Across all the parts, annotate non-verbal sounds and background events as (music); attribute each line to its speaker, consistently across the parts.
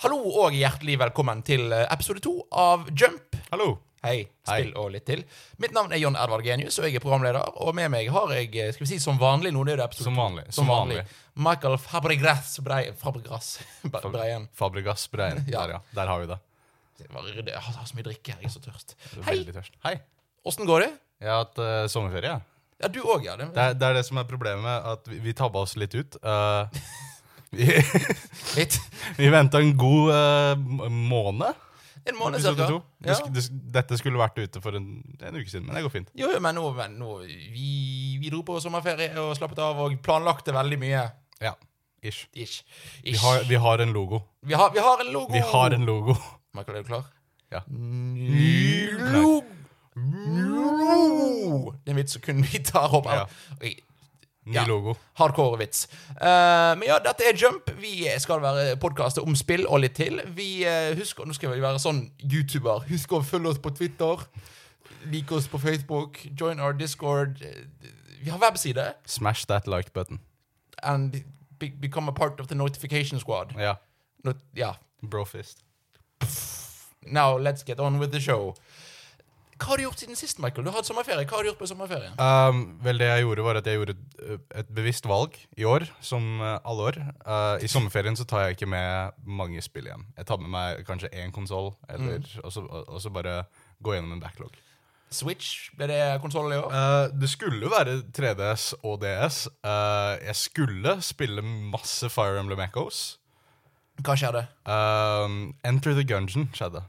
Speaker 1: Hallo og hjertelig velkommen til eh, episode to av Jump.
Speaker 2: Hallo.
Speaker 1: Hei,
Speaker 2: Hei.
Speaker 1: spill og litt til. Mitt navn er John Edvard Genius, og jeg er programleder. Og med meg har jeg, eh, skal vi si som vanlig nå, det er jo det episode
Speaker 2: Som vanlig,
Speaker 1: to.
Speaker 2: som vanlig.
Speaker 1: Michael Fabregas Brei- Fabregas (laughs) Bre- Breien.
Speaker 2: Fabregas Brein.
Speaker 1: (laughs) Ja.
Speaker 2: Der, ja. Der har vi det.
Speaker 1: Jeg bare rydder- jeg har så mye drikke, jeg er så tørst.
Speaker 2: Du er
Speaker 1: Hei,
Speaker 2: Veldig tørst. Hei.
Speaker 1: åssen går det?
Speaker 2: Jeg har hatt eh, sommerferie. jeg.
Speaker 1: Ja, du òg, ja. Det
Speaker 2: Det er, det er det som er problemet, at vi, vi tabba oss litt ut. Eh, (laughs) vi
Speaker 1: litt.
Speaker 2: vi venta en god eh, m- måned.
Speaker 1: En måned
Speaker 2: episode
Speaker 1: cirka.
Speaker 2: to. Det
Speaker 1: Ja.
Speaker 2: sk- det sk- dette skulle vært ute for en, en uke siden, men det går fint.
Speaker 1: Jo, jo, men nå, men nå vi, vi dro på sommerferie og slappet av og planlagte veldig mye.
Speaker 2: Ja, ish.
Speaker 1: Ish.
Speaker 2: Vi
Speaker 1: Ish. Oh.
Speaker 2: har, vi har en logo.
Speaker 1: Vi har, vi har en logo!
Speaker 2: Vi har en logo. (laughs)
Speaker 1: Michael, er du klar?
Speaker 2: Ja.
Speaker 1: Ny logo! Det er en vits som kun vi tar opp.
Speaker 2: Ja.
Speaker 1: Ok,
Speaker 2: Ny
Speaker 1: Ja.
Speaker 2: logo.
Speaker 1: Hardcore vits. Eh, men ja, dette er Jump. Vi skal være podkastet om spill og litt til. Vi eh, husker, Nå skal vi være sånn YouTuber. Husk å følge oss på Twitter. Like oss på Facebook. Join our Discord. Eh, Vi har webside.
Speaker 2: Smash that like button.
Speaker 1: And be become a part of the notification squad.
Speaker 2: Ja.
Speaker 1: Not, ja.
Speaker 2: Brofist.
Speaker 1: Now let's get on with the show. Hva har du gjort siden sist, Michael? Du har hatt sommerferie. Hva har du gjort på sommerferien?
Speaker 2: Um, vel, det jeg gjorde, var at jeg gjorde et, et bevisst valg i år, som eh, alle år. Eh, I sommerferien så tar jeg ikke med mange spill hjem. Jeg tar med meg kanskje én konsoll,
Speaker 1: Mm.
Speaker 2: og, så- og, og så bare gå gjennom en backlog.
Speaker 1: Switch, ble det konsollen i år?
Speaker 2: Eh, det skulle være 3DS og DS. Eh, jeg skulle spille masse Fire Emblem Echoes.
Speaker 1: Hva skjedde?
Speaker 2: Um, Enter the Gungeon skjedde.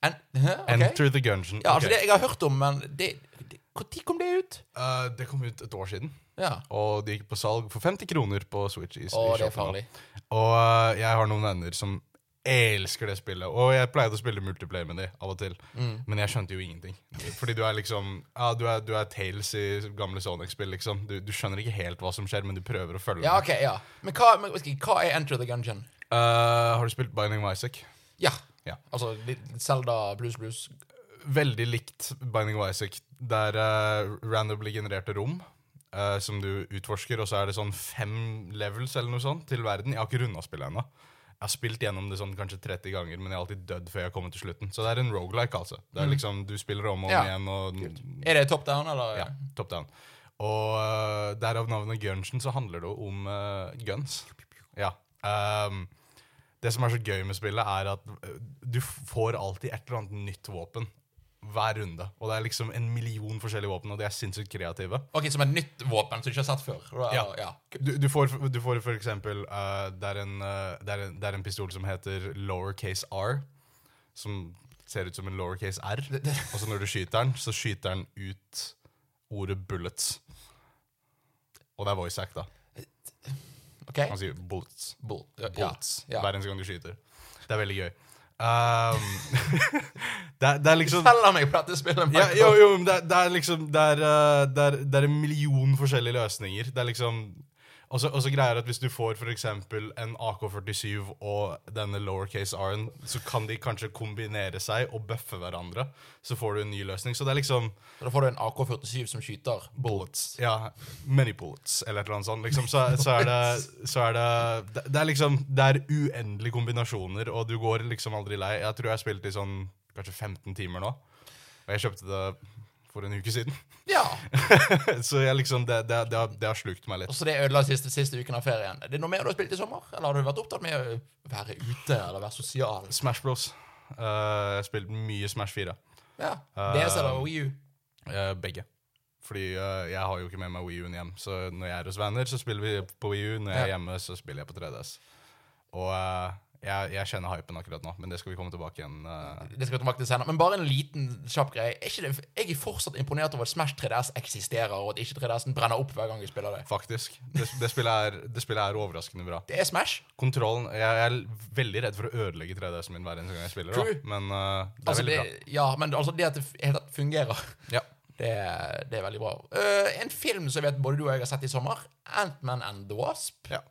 Speaker 1: En Hæ? Ok.
Speaker 2: Enter the Gungeon.
Speaker 1: Ja, altså
Speaker 2: Ok.
Speaker 1: det jeg har hørt om, men det, det, Når kom det ut?
Speaker 2: Eh, det kom ut et år siden,
Speaker 1: Ja.
Speaker 2: og det gikk på salg for 50 kroner på Switch. i- i
Speaker 1: Å, det
Speaker 2: shoppen
Speaker 1: er
Speaker 2: da.
Speaker 1: farlig.
Speaker 2: Og øh, jeg har noen venner som elsker det spillet. Og jeg pleide å spille multiplayer med de av og til, men jeg skjønte jo ingenting. Fordi du er liksom ja, du, er, du er Tales i gamle Sonic-spill, liksom. Du, du skjønner ikke helt hva som skjer, men du prøver å følge
Speaker 1: Ja,
Speaker 2: med.
Speaker 1: ok, ja. Men hva, men, ok, hva er Enter the Gungeon?
Speaker 2: Øh, har du spilt Binding of Isaac?
Speaker 1: Ja.
Speaker 2: Ja.
Speaker 1: Altså litt Zelda Blues Blues.
Speaker 2: Veldig likt Binding of Isaac. Det er øh, randomly genererte rom. øh, som du utforsker, og så er det sånn fem levels eller noe sånt til verden. Jeg har ikke runda spillet ennå. Jeg har spilt gjennom det sånn kanskje 30 ganger, men jeg har alltid dødd før jeg har kommet til slutten. Så det er en roguelike altså. Det er liksom, Du spiller om og om
Speaker 1: Ja.
Speaker 2: igjen, og
Speaker 1: Er det top down, eller?
Speaker 2: ja, top down. Og øh, derav navnet Gunsen, så handler det jo om øh, guns. Ja. Ehm, det som er så gøy med spillet, er at øh, du får alltid et eller annet nytt våpen hver runde. Og det er liksom en million forskjellige våpen, og de er sinnssykt kreative.
Speaker 1: Ok, Som et nytt våpen som du ikke har sett før? Eller,
Speaker 2: Ja.
Speaker 1: ja.
Speaker 2: Du, du, får, du får for eksempel eh, det, er en, eh, det, er en, det er en pistol som heter lowercase r, som ser ut som en lowercase r. Og så når du skyter den, så skyter den ut ordet bullets. Og det er voice act, da.
Speaker 1: Ok?
Speaker 2: Han sier bullets.
Speaker 1: Bull. Ja, ja.
Speaker 2: Bullets
Speaker 1: ja.
Speaker 2: hver eneste gang du skyter. Det er veldig gøy. Um, (laughs) det, er- det er liksom
Speaker 1: Selger meg på dette spillet.
Speaker 2: ja,
Speaker 1: Michael.
Speaker 2: jo, jo, men det, er- det er liksom det er, eh, det, er, det er en million forskjellige løsninger. Det er liksom og så og så greier jeg at Hvis du får for eksempel en AK-47 og denne lowercase r-en, så kan de kanskje kombinere seg og bøffe hverandre. Så får du en ny løsning. Så det er liksom
Speaker 1: Da får du en AK-47 som skyter bullets.
Speaker 2: ja, many bullets, eller et eller annet sånt. Liksom. Så, så er det, så er det, det Det er liksom Det er uendelige kombinasjoner, og du går liksom aldri lei. Jeg tror jeg har spilt i sånn kanskje 15 timer nå, og jeg kjøpte det for en uke siden.
Speaker 1: Ja.
Speaker 2: Så jeg liksom, det, det, det, har, det har slukt meg
Speaker 1: Og
Speaker 2: litt.
Speaker 1: så det ødela siste, siste uken av ferien. Er det noe mer du har spilt i sommer? Eller har du vært opptatt med å være ute eller være sosial?
Speaker 2: Smash Bros. Eh, jeg har spilt mye Smash 4.
Speaker 1: Ja. DS eller Wii U?
Speaker 2: Eh, begge. Fordi eh, jeg har jo ikke med meg Wii-en hjem. Så når jeg er hos venner, så spiller vi på Wii-u. Når jeg er
Speaker 1: Ja.
Speaker 2: hjemme, så spiller jeg på 3DS. Og eh, jeg, jeg kjenner hypen akkurat nå, men det skal vi komme tilbake igjen eh.
Speaker 1: Det skal vi tilbake til senere. Men bare en liten kjapp greie. Er ikke det, jeg er fortsatt imponert over at Smash 3DS eksisterer, og at ikke 3DS-en brenner opp hver gang vi spiller det.
Speaker 2: Faktisk. Det, det, spillet er, det spillet er overraskende bra.
Speaker 1: Det er Smash.
Speaker 2: Kontrollen Jeg er veldig redd for å ødelegge 3DS-en min hver eneste gang jeg spiller,
Speaker 1: True.
Speaker 2: da. men eh, det er
Speaker 1: Altså,
Speaker 2: veldig
Speaker 1: det, ja, men altså det at det f- helt tatt fungerer, (laughs)
Speaker 2: bra. Ja.
Speaker 1: det, det er veldig bra. Eh, en film som jeg vet både du og jeg har sett i sommer, Ant-Man and the Wasp.
Speaker 2: Ja.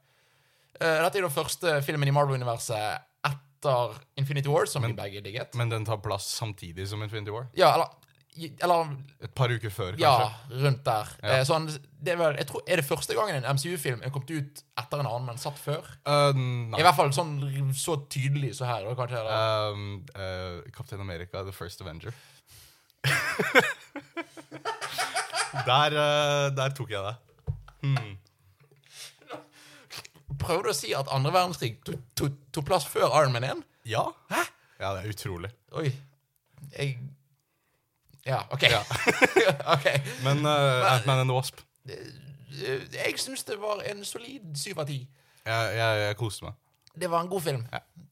Speaker 1: Eh, dette er den første filmen i Marvel-universet etter Infinity War, som vi begge digget.
Speaker 2: Men den tar plass samtidig som Infinity War.
Speaker 1: Ja, eller Eller
Speaker 2: Et par uker før, kanskje.
Speaker 1: ja, rundt der.
Speaker 2: Ja.
Speaker 1: Eh, Sånn, det er, vel, jeg tror, er det første gangen en MCU-film er kommet ut etter en annen, men satt før?
Speaker 2: Eh, nei.
Speaker 1: I hvert fall sånn r- så tydelig så her. da, kanskje eller?
Speaker 2: Um, eh, Kaptein America, The First Avenger. (laughs) der, eh, der tok jeg det.
Speaker 1: Prøver du å si at andre verdenskrig to- to- tok plass før Iron Man 1?
Speaker 2: Ja? Hæ? Ja, det er utrolig.
Speaker 1: Oi. Jeg Ja, OK. (laughs) ok.
Speaker 2: Men uh, Ant-Man and the Wasp.
Speaker 1: Eh, Jeg syns det var en solid syv av ti.
Speaker 2: Jeg, jeg, jeg koste meg.
Speaker 1: Det var en god film.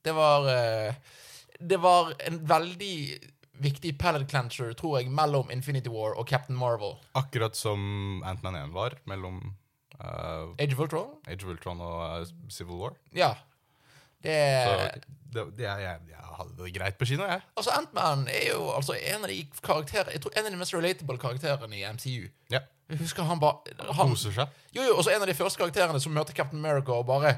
Speaker 1: Det var eh, Det var en veldig viktig pallet clencher, tror jeg, mellom Infinity War og Captain Marvel.
Speaker 2: Akkurat som Ant-Man 1 var mellom eh,
Speaker 1: Age of Ultron?
Speaker 2: Age of Ultron og eh, Civil War.
Speaker 1: Ja. Det
Speaker 2: Så det, det, jeg, jeg, jeg hadde det greit på kino, jeg.
Speaker 1: Altså, Ant-Man er jo altså, en av de karakterer Jeg tror en av de mest relatable karakterene i MCU.
Speaker 2: Ja.
Speaker 1: Jeg husker han bare han,
Speaker 2: Koser seg.
Speaker 1: Jo, jo, også en av de første karakterene som møter Captain America og bare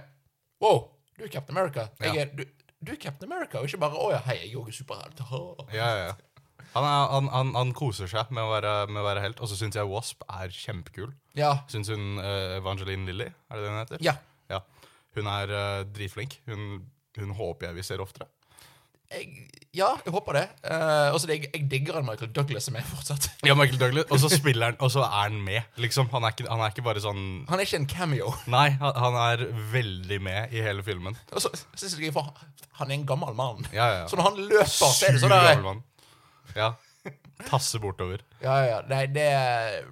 Speaker 1: Wow, du er Captain America. Jeg
Speaker 2: Ja.
Speaker 1: er, du, du er Captain America, og ikke bare Å ja, hei, jeg er også superhelt. Ha.
Speaker 2: Ja, ja, ja. Han, er, han, han, han koser seg med å være, med å være helt. Og så syns jeg Wasp er kjempekul.
Speaker 1: Ja.
Speaker 2: Syns hun eh, Evangeline Lilly, er det det hun heter?
Speaker 1: ja.
Speaker 2: Ja. Hun er eh, dritflink. Hun, hun håper jeg vi ser oftere.
Speaker 1: Jeg, ja, jeg håper det. Eh, også det jeg, jeg digger en Michael Douglas som er fortsatt.
Speaker 2: Ja, Michael Douglas. Og så spiller han, og så er han med, liksom. Han er ikke, han er ikke bare sånn
Speaker 1: Han er ikke en cameo.
Speaker 2: Nei, han, han er veldig med i hele filmen.
Speaker 1: Og så synes jeg for Han er en gammel mann.
Speaker 2: Ja, ja, ja.
Speaker 1: Så når han løper, så er det
Speaker 2: Sur
Speaker 1: sånn der,
Speaker 2: gammel mann. Ja. Tasse bortover.
Speaker 1: Ja, ja, ja. Nei, det,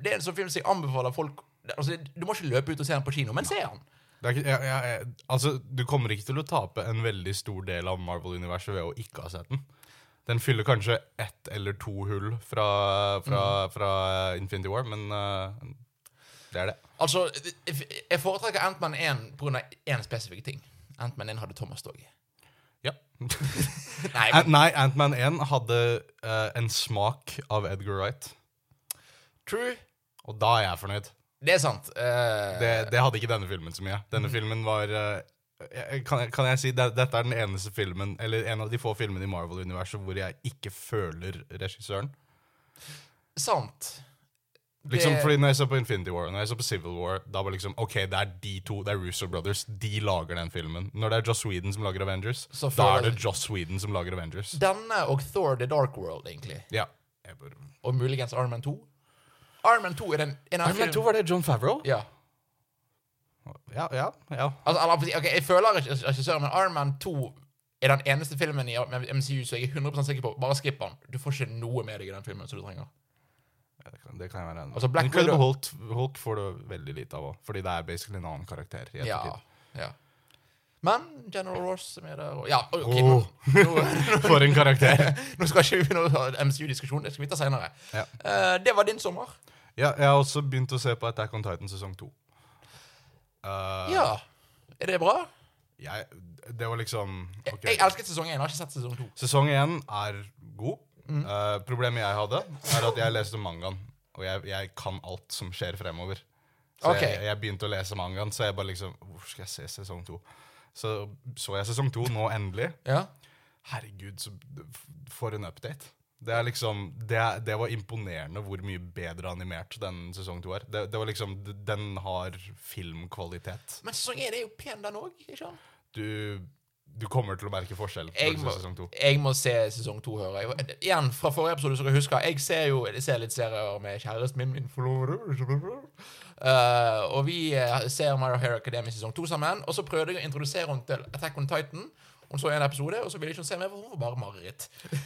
Speaker 1: det er en sånn film som jeg anbefaler folk altså, Du må ikke løpe ut og se den på kino, men se den.
Speaker 2: Det er ikke, jeg, jeg, jeg, altså, du kommer ikke til å tape en veldig stor del av Marvel-universet ved å ikke ha sett den. Den fyller kanskje ett eller to hull fra, fra, fra Infinity War, men eh, det er det.
Speaker 1: Altså, jeg- jeg foretrekker Ant-Man 1 pga. én spesifikk ting. Ant-Man 1 hadde Thomas Dog i.
Speaker 2: Ja.
Speaker 1: (laughs) Nei,
Speaker 2: (laughs) Ant-
Speaker 1: men,
Speaker 2: Nei, Ant-Man 1 hadde eh, en smak av Edgar Wright,
Speaker 1: true.
Speaker 2: og da er jeg fornøyd.
Speaker 1: Det er sant. Eh,
Speaker 2: Det, det hadde ikke denne filmen så mye. Denne filmen var eh, jeg- kan, jeg- kan jeg si det, Dette er den eneste filmen Eller en av de få filmene i Marvel-universet hvor jeg ikke føler regissøren.
Speaker 1: Sant.
Speaker 2: Liksom,
Speaker 1: Det-
Speaker 2: fordi Når jeg så på Infinity War Når jeg så på Civil War, da var liksom OK, det er de to, det er Russo Brothers, de lager den filmen. Når det er Joss Whedon som lager Avengers,
Speaker 1: Så
Speaker 2: da
Speaker 1: føler-
Speaker 2: er det Joss Whedon som lager Avengers.
Speaker 1: Denne og Thor The Dark World, egentlig.
Speaker 2: Ja. Jeg bare-
Speaker 1: Og muligens Iron Man 2. Iron Man 2 er den en av
Speaker 2: Iron Man 2, var det John Favreau?
Speaker 1: Ja.
Speaker 2: Ja, ja. ja.
Speaker 1: Altså, eller, ok, jeg føler ikke regissøren, men Iron Man 2 er den eneste filmen i MCU som jeg er 100 sikker på. Bare skipp den. Du får ikke noe med deg i den filmen som du trenger.
Speaker 2: Det kan, det kan jeg være enig i.
Speaker 1: Altså, Black
Speaker 2: Incredible
Speaker 1: Widow-
Speaker 2: Hulk, Hulk får du veldig lite av òg, fordi det er basically en annen karakter. i
Speaker 1: Ja,
Speaker 2: ettertid. (laughs)
Speaker 1: ja. Men General Ross som er der og Ja, OK.
Speaker 2: Åh.
Speaker 1: Nå, nå, (laughs)
Speaker 2: For en karakter!
Speaker 1: nå skal ikke vi begynne å ha MCU-diskusjon. Det skal vi ta seinere.
Speaker 2: Ja.
Speaker 1: det var din sommer.
Speaker 2: Ja, jeg har også begynt å se på Attack on Titan sesong to. Eh,
Speaker 1: Ja. Er det bra?
Speaker 2: jeg, det var liksom ok.
Speaker 1: Jeg elsket sesong én. Har ikke sett sesong to.
Speaker 2: Sesong én er god.
Speaker 1: Mm.
Speaker 2: Eh, problemet jeg hadde, er at jeg leste mangaen. Og jeg, jeg kan alt som skjer fremover. Så
Speaker 1: Ok.
Speaker 2: jeg, jeg begynte å lese mangaen, så jeg bare liksom Hvor skal jeg se sesong to? Så så jeg sesong to nå endelig.
Speaker 1: Ja.
Speaker 2: Herregud, så, for en update. Det, er liksom, det, er- det var imponerende hvor mye bedre animert den sesong to er. Det, det var liksom, Den har filmkvalitet.
Speaker 1: Men sesong én er jo pen, den òg. ikke sant?
Speaker 2: Du, du kommer til å merke forskjell. når
Speaker 1: Jeg
Speaker 2: du ser
Speaker 1: må,
Speaker 2: sesong to.
Speaker 1: jeg må se sesong to, hører jeg. Igjen, fra forrige episode, som dere husker, jeg ser jo jeg ser litt serier med kjæresten min, min forlovede. Eh, og vi eh, ser My Hair Academy sesong to sammen. Og så prøvde jeg å introdusere henne til Attack on Titan. Hun så en episode, og så ville ikke hun se mer, for hun var bare mareritt.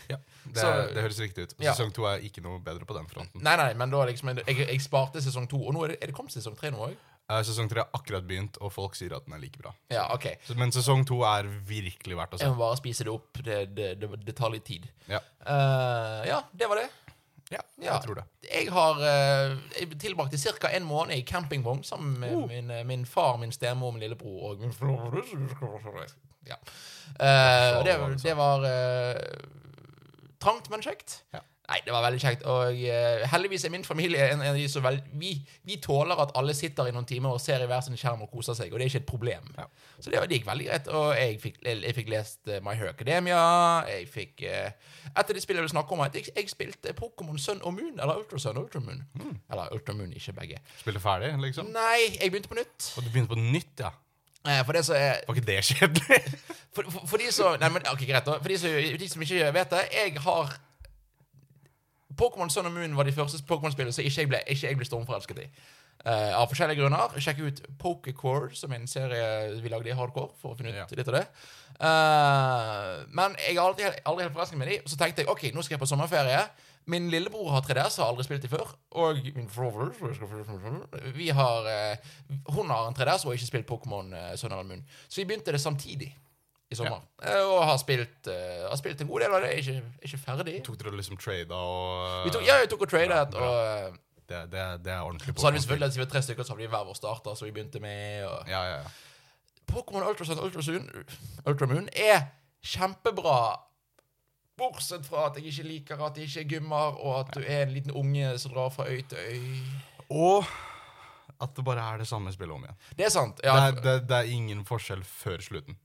Speaker 2: Ja, det,
Speaker 1: Så-
Speaker 2: det høres riktig ut.
Speaker 1: Ja.
Speaker 2: Sesong to er ikke noe bedre på den fronten.
Speaker 1: Nei, nei, men da liksom Jeg, jeg sparte sesong to, og nå er det, er det kommet sesong tre nå òg?
Speaker 2: Eh, Sesong tre har akkurat begynt, og folk sier at den er like bra.
Speaker 1: Ja, OK.
Speaker 2: Så- Men sesong to er virkelig verdt å se.
Speaker 1: Jeg må bare spise det opp. Det, det, det, det tar litt tid.
Speaker 2: Ja,
Speaker 1: Eh, ja, det var det.
Speaker 2: ja
Speaker 1: Ja.
Speaker 2: jeg tror det.
Speaker 1: Jeg har eh, jeg tilbrakte ca. en måned i campingvogn sammen med
Speaker 2: Oh.
Speaker 1: min, eh, min far, min stemor, min lillebror og
Speaker 2: (laughs)
Speaker 1: min flore. Ja. Eh, og det, det var eh, trangt, men kjekt.
Speaker 2: Ja.
Speaker 1: Nei, det var veldig kjekt. Og eh, heldigvis er min familie en, en av de som vel vi, vi tåler at alle sitter i noen timer og ser i hver sin skjerm og koser seg, og det er ikke et problem.
Speaker 2: Ja.
Speaker 1: Så det, var- det gikk veldig greit. Og jeg fikk, jeg, jeg fikk lest eh, My Hero Academia. Jeg fikk eh, Et av de spillene jeg vil snakke om, er at jeg, jeg spilte Pokémon Sun og Moon, eller Ultrasun og Ultramoon.
Speaker 2: Mm.
Speaker 1: Eller Ultramoon, ikke begge.
Speaker 2: Spille ferdig, liksom?
Speaker 1: Nei, jeg begynte på nytt.
Speaker 2: Og du begynte på nytt, ja?
Speaker 1: Eh, For det som er
Speaker 2: Var ikke det (laughs) kjedelig?
Speaker 1: for, for, for de som Nei, men ok, greit da For de som, de som ikke vet det Jeg har Pokémon Sun og Moon var de første Pokémon-spillene som ikke jeg ble, ikke jeg ble stormforelsket i. Eh, av forskjellige grunner. Sjekk ut Pokécore, som er en serie vi lagde i hardcore. For å finne ut
Speaker 2: Ja.
Speaker 1: litt av det Eh, Men jeg har aldri, aldri helt forelsket meg i dem. Så tenkte jeg ok, nå skal jeg på sommerferie. Min lillebror har 3DS, har aldri spilt dem før. Og min forholder Vi har eh, Hun har en 3DS og har ikke spilt Pokémon uh, Sun og Moon. Så vi begynte det samtidig i sommer. Eh, Og har spilt, eh, har spilt en god del av det. Ikke, ikke ferdig.
Speaker 2: Tok dere liksom trada og
Speaker 1: Vi tok, ja, vi tok og tradet,
Speaker 2: Bra, bra.
Speaker 1: og eh,
Speaker 2: det, det, det er ordentlig
Speaker 1: så hadde vi
Speaker 2: Pokémon-spill.
Speaker 1: selvfølgelig at vi var tre stykker, så hadde vi hver vår starter, så vi begynte med og
Speaker 2: Ja, ja, ja.
Speaker 1: Pokémon Ultrasun Ultrasun Ultramoon er kjempebra, bortsett fra at jeg ikke liker at det ikke er gymmer, og at du er en liten unge som drar fra øy til øy.
Speaker 2: Og at det bare er det samme spillet om igjen.
Speaker 1: Det er sant.
Speaker 2: Det
Speaker 1: Ja,
Speaker 2: er, det, det er ingen forskjell før slutten.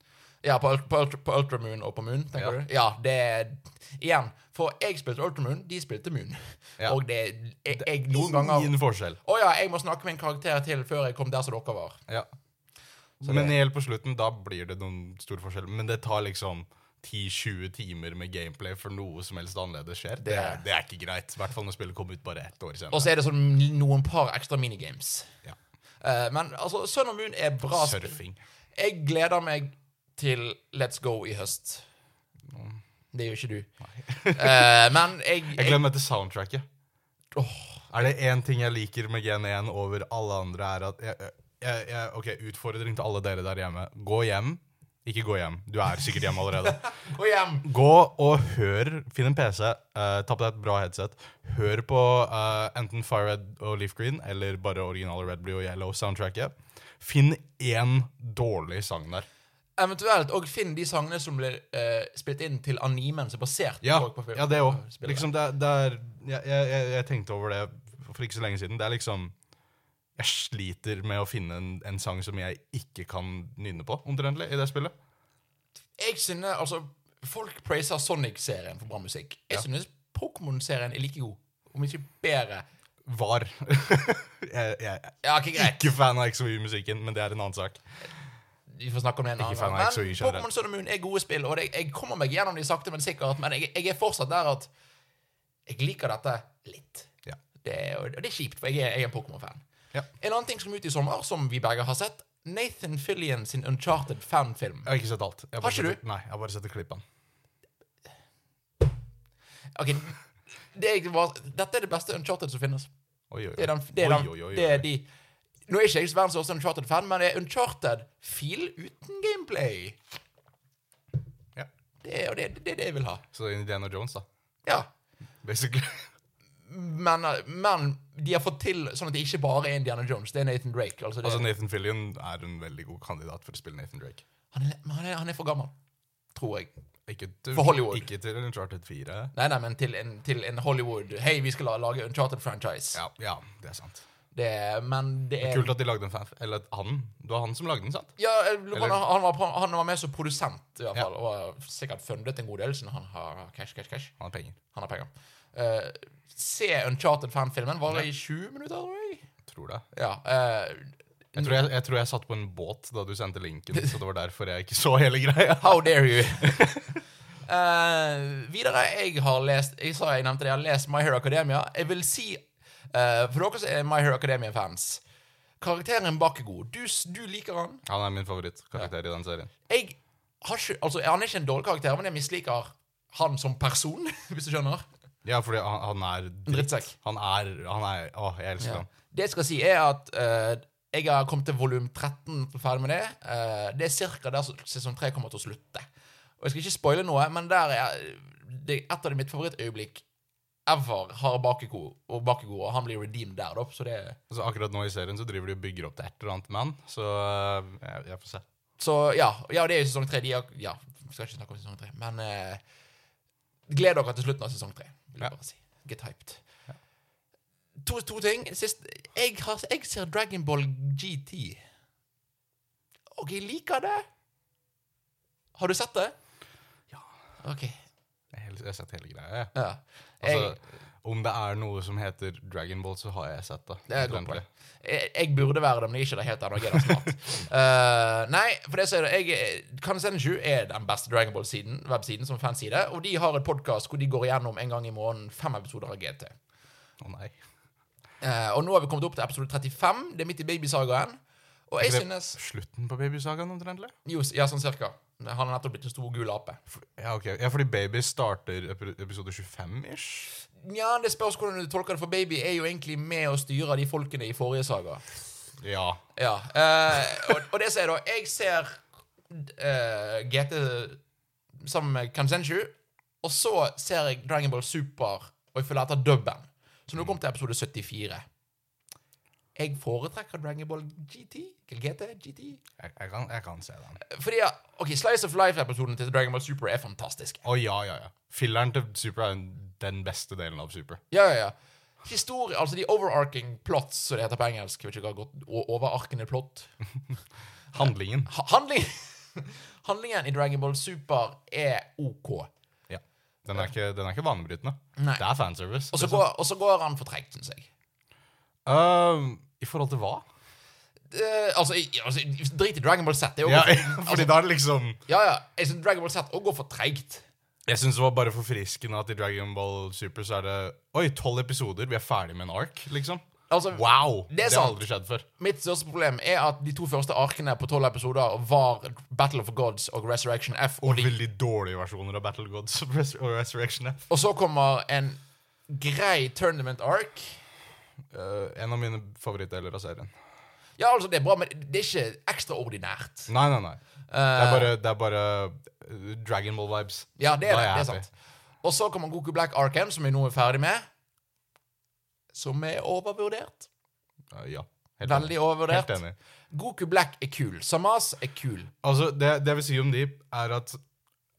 Speaker 1: ja på, Ult- på, Ultra, på Ultramoon og på Moon, tenker
Speaker 2: Ja.
Speaker 1: du? Ja, det er Igjen, for jeg spilte Ultramoon, de spilte Moon.
Speaker 2: Ja.
Speaker 1: Og det jeg, jeg, Noen ganger
Speaker 2: Ingen forskjell.
Speaker 1: Å ja, jeg må snakke med en karakter til før jeg kom der som dere var.
Speaker 2: Ja.
Speaker 1: Så
Speaker 2: Men
Speaker 1: det-
Speaker 2: helt på slutten, da blir det noen stor forskjell. Men det tar liksom 10-20 timer med gameplay for noe som helst annerledes skjer. Det, er- det er ikke greit. I hvert fall når spillet kom ut bare ett år
Speaker 1: Og
Speaker 2: senere.
Speaker 1: så er det sånn noen par ekstra minigames.
Speaker 2: Ja.
Speaker 1: Eh, men altså, Sun og Moon er bra spill.
Speaker 2: Surfing.
Speaker 1: Jeg gleder meg til Let's Go i høst. Det gjør ikke du. Eh, men jeg,
Speaker 2: (laughs) Jeg gleder meg til soundtracket.
Speaker 1: Åh,
Speaker 2: Er det én ting jeg liker med Gen 1 over alle andre, er at jeg, jeg, jeg, Ok, utfordring til alle dere der hjemme. Gå hjem. Ikke gå hjem. Du er sikkert hjemme allerede.
Speaker 1: Gå hjem!
Speaker 2: Gå og hør. Finn en PC. eh, ta på deg et bra headset. Hør på eh, enten Fire Red og Leaf Green eller bare originale Red Blue og Yellow-soundtracket. Finn én dårlig sang der.
Speaker 1: Eventuelt og finn de sangene som blir eh, spilt inn til animen som er basert
Speaker 2: Ja,
Speaker 1: på- på film.
Speaker 2: ja det òg.
Speaker 1: Spillet.
Speaker 2: Liksom det, er- det er jeg, jeg, jeg- jeg tenkte over det for ikke så lenge siden. Det er liksom Jeg sliter med å finne en, en sang som jeg ikke kan nynne på, omtrentlig, i det spillet. Liksom-
Speaker 1: Jeg synes, altså Folk praiser Sonic-serien for bra musikk. Jeg synes Pokémon-serien er like god, om ikke bedre.
Speaker 2: Var. (laughs) jeg, jeg er
Speaker 1: Ja, ikke greit.
Speaker 2: ikke fan av XOY-musikken, men det er en annen sak.
Speaker 1: Vi får snakke om det en annen
Speaker 2: fan
Speaker 1: gang.
Speaker 2: av XOY
Speaker 1: Men
Speaker 2: generelt.
Speaker 1: Pokémon Sun og Moon er gode spill, og det, jeg kommer meg gjennom de sakte, men sikkert. Men jeg, jeg er fortsatt der at jeg liker dette litt.
Speaker 2: Ja.
Speaker 1: Det, er- og det er kjipt, for jeg er, jeg er en Pokémon-fan.
Speaker 2: Ja.
Speaker 1: En annen ting som kom ut i sommer, som vi begge har sett, Nathan Fillion sin Uncharted fanfilm.
Speaker 2: Jeg har ikke sett alt. Jeg
Speaker 1: Har
Speaker 2: bare
Speaker 1: ikke
Speaker 2: setter-
Speaker 1: du?
Speaker 2: Nei, jeg har bare setter klippene.
Speaker 1: Ok, det er, var- dette er det beste Uncharted som finnes.
Speaker 2: Oi, oi, oi.
Speaker 1: Det er, den, det, er
Speaker 2: Oi,
Speaker 1: den,
Speaker 2: oi, oi, oi.
Speaker 1: det er de Nå er ikke jeg verdens største Uncharted-fan, men det er Uncharted-fil uten gameplay.
Speaker 2: Ja.
Speaker 1: Det er og det, det, er det jeg vil ha.
Speaker 2: Så det er Indiana Jones, da.
Speaker 1: Ja.
Speaker 2: Basically. (laughs)
Speaker 1: Men, eh, men de har fått til sånn at det ikke bare er Indiana Jones. Det er Nathan Drake. Altså det,
Speaker 2: Altså, Nathan Fillion er en veldig god kandidat for å spille Nathan Drake.
Speaker 1: han, er, men han, er, han er for gammel, tror jeg.
Speaker 2: Ikke til,
Speaker 1: For Hollywood.
Speaker 2: Ikke til Uncharted 4.
Speaker 1: Nei, nei, men til en, til en Hollywood Hei, vi skal la- lage Uncharted-franchise.
Speaker 2: Ja, ja, det er sant.
Speaker 1: Det er- Men det er
Speaker 2: Kult at de lagde en fan... Eller at han. Det var han som lagde den, sant?
Speaker 1: Ja, jeg lurer på om han, han, var, på- han var med som produsent, i hvert
Speaker 2: Ja.
Speaker 1: fall. Og har sikkert fundet en god del, siden han har cash, cash, cash.
Speaker 2: Han har penger.
Speaker 1: Han har penger. Eh, se Uncharted-fanfilmen. Var det i 20 minutter, tror jeg?
Speaker 2: Tror det.
Speaker 1: Ja. eh,
Speaker 2: Jeg tror jeg, jeg tror jeg satt på en båt da du sendte linken, så det var derfor jeg ikke så hele greia. (laughs)
Speaker 1: how dare you? (laughs) Eh, videre, jeg har lest Jeg sa jeg nevnte det, jeg har lest My Hero Academia. Jeg vil si, eh, for dere som er My Hero Academia-fans Karakteren Bakkegood, du, s- du liker han.
Speaker 2: Han er min favorittkarakter i den serien.
Speaker 1: Jeg har ikke, altså, Han er ikke en dårlig karakter, men jeg misliker han som person, (laughs) hvis du skjønner.
Speaker 2: Ja, fordi han, han er dritt.
Speaker 1: Drittsekk.
Speaker 2: Han er, han er Å, jeg elsker
Speaker 1: Ja.
Speaker 2: ham.
Speaker 1: Det jeg skal si, er at eh, jeg har kommet til volum 13, ferdig med det. Eh, det er ca. der som sesong 3 kommer til å slutte. Og jeg skal ikke spoile noe, men der er det er et av de mitt favorittøyeblikk ever har Bakeko, og Bakego, og han blir redeemed der, da. Så det
Speaker 2: Så Altså, akkurat nå i serien så driver de og bygger opp til et eller annet med han, så øh, jeg, jeg får se.
Speaker 1: Så ja, ja det er jo sesong 3. De har, ja, vi skal ikke snakke om sesong 3, men eh, gled dere til slutten av sesong 3, vil jeg
Speaker 2: Ja.
Speaker 1: bare si. Get hyped. To, to ting. Sist, jeg, har, jeg ser Dragon Ball GT. Og jeg liker det. Har du sett det?
Speaker 2: Ja.
Speaker 1: OK.
Speaker 2: Jeg har helt- jeg har sett hele greia, jeg.
Speaker 1: Ja. Jeg,
Speaker 2: Altså, om det er noe som heter Dragon Ball, så har jeg sett det.
Speaker 1: Det er et godt
Speaker 2: Omtrentlig.
Speaker 1: poeng. jeg, jeg burde være det, men jeg er ikke det helt ennå. Jeg er det
Speaker 2: (laughs)
Speaker 1: snart. Eh, nei, for det så er det jeg, eh, Kansen 7 er den beste Dragon Ball-siden, websiden som fanside, og de har et podkast hvor de går igjennom en gang i måneden fem episoder av GT.
Speaker 2: Å nei.
Speaker 1: Eh, og nå har vi kommet opp til episode 35. Det er midt i babysagaen. Og jeg
Speaker 2: Er det
Speaker 1: synes
Speaker 2: Slutten på babysagaen, omtrentlig?
Speaker 1: Jo, ja, sånn cirka. Han har nettopp blitt en stor gul ape.
Speaker 2: Ja, ok. Ja, fordi Baby starter epi- episode 25-ish.
Speaker 1: Nja, det spørs hvordan du tolker det, for baby er jo egentlig med å styre de folkene i forrige saga.
Speaker 2: Ja.
Speaker 1: Ja, eh, og, og det sier da Jeg ser eh, GT sammen med Kansenshu, og så ser jeg Dragon Ball Super, og jeg følger etter dubben. Så nå kom til episode 74. Jeg foretrekker Dragon Ball GT. GT, GT.
Speaker 2: Jeg, jeg, kan, jeg kan se den.
Speaker 1: Fordi, ja, ok, Slice of Life-episoden til Dragon Ball Super er fantastisk.
Speaker 2: Å ja, ja, ja. Filleren til Super er den beste delen av Super.
Speaker 1: Ja, ja, ja. Historie, altså de overarching plots, som det heter på engelsk. Jeg vet ikke hva godt, o- Overarkende plott.
Speaker 2: Handlingen.
Speaker 1: Ha- Handling, (laughs) handlingen i Dragon Ball Super er OK.
Speaker 2: Ja. Den er ikke, den er ikke vanebrytende.
Speaker 1: Nei.
Speaker 2: Det er fanservice.
Speaker 1: Og så
Speaker 2: liksom.
Speaker 1: går, og så går han for treigt, syns jeg.
Speaker 2: Øhm, Um, I forhold til hva?
Speaker 1: Eh, altså, i- altså, drit i Dragon Ball Z. Det er jo
Speaker 2: Ja, (laughs)
Speaker 1: ja,
Speaker 2: fordi da er det liksom
Speaker 1: ja, ja. Jeg synes Dragon Ball Z òg går for treigt.
Speaker 2: Jeg syns det var bare forfriskende at i Dragon Ball Super så er det Oi, tolv episoder, vi er ferdig med en ark, liksom.
Speaker 1: Altså,
Speaker 2: Wow!
Speaker 1: Det er
Speaker 2: har
Speaker 1: sant.
Speaker 2: aldri skjedd før.
Speaker 1: Mitt største problem er at de to første arkene på tolv episoder var Battle of Gods og Resurrection F.
Speaker 2: Og
Speaker 1: Og, de,
Speaker 2: veldig dårlige versjoner av Battle Gods og Res- og Resurrection F.
Speaker 1: og så kommer en grei tournament ark.
Speaker 2: Øh, en av mine favorittdeler av serien.
Speaker 1: Ja, altså, det er bra, men det er ikke ekstraordinært.
Speaker 2: Nei, nei, nei. det er bare, det er bare øh, Dragon Ball-vibes.
Speaker 1: Eh. Ja, det er,
Speaker 2: Da
Speaker 1: det, det er
Speaker 2: jeg happy.
Speaker 1: sant. Og så kommer Goku Black Arkham, som vi nå er ferdig med. Som er overvurdert.
Speaker 2: Øh, ja. Helt
Speaker 1: Veldig
Speaker 2: enig. Helt
Speaker 1: overvurdert.
Speaker 2: enig.
Speaker 1: Goku Black er kul. Samas er kul.
Speaker 2: Altså, det, det jeg vil si om de, er at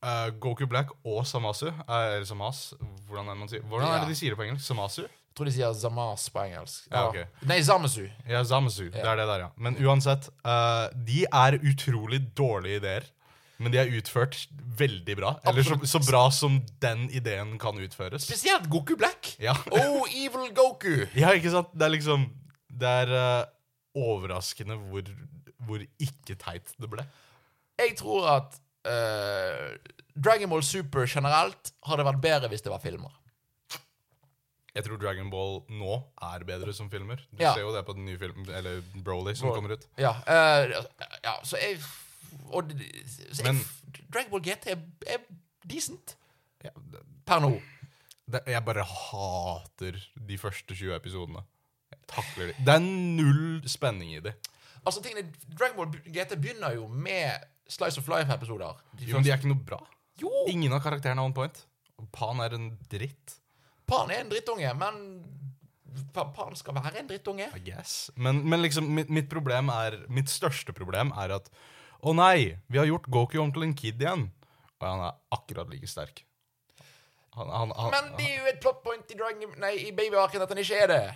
Speaker 2: øh, Goku Black og Samasu er Samas Hvordan er det man sier Hvordan er
Speaker 1: Ja.
Speaker 2: det de sier det på engelsk? Samasu?
Speaker 1: Jeg tror de sier Zamas på engelsk.
Speaker 2: Ja, ok.
Speaker 1: Nei, Zamasu.
Speaker 2: Ja, Zamasu. Det er det der, ja. Men uansett, øh, de er utrolig dårlige ideer. Men de er utført veldig bra. Eller så, så bra som den ideen kan utføres.
Speaker 1: Spesielt Goku Black.
Speaker 2: Ja.
Speaker 1: (laughs) Oh, evil Goku.
Speaker 2: Ja, ikke sant? Det er liksom Det er eh, overraskende hvor, hvor ikke teit det ble.
Speaker 1: Jeg tror at eh, Dragon Ball Super generelt hadde vært bedre hvis det var filmer.
Speaker 2: Jeg tror Dragon Ball nå er bedre som filmer. Du
Speaker 1: Ja.
Speaker 2: ser jo det på den nye filmen, eller Broly, som
Speaker 1: Broly.
Speaker 2: kommer ut.
Speaker 1: Ja, eh, ja så jeg og, så jeg,
Speaker 2: Men-
Speaker 1: Dragon Ball GT er, er decent
Speaker 2: Ja, det,
Speaker 1: per nå.
Speaker 2: det, jeg bare hater de første 20 episodene. Jeg takler de. Det er null spenning i de.
Speaker 1: Altså, tingene, Dragon Ball GT begynner jo med Slice of Life-episoder. De
Speaker 2: Jo, men de er ikke noe bra.
Speaker 1: Jo,
Speaker 2: Ingen av karakterene er on point. Og Pan er en dritt,
Speaker 1: Pan er en drittunge, men Pa- Pan skal være en drittunge.
Speaker 2: I guess. Men, men liksom, mitt, mitt problem er Mitt største problem er at Å nei, vi har gjort Goku om til en kid igjen. Og han er akkurat like sterk. Han, han, han,
Speaker 1: Men det er jo et plot point i, Dragon, nei, i babyarken at han ikke er det.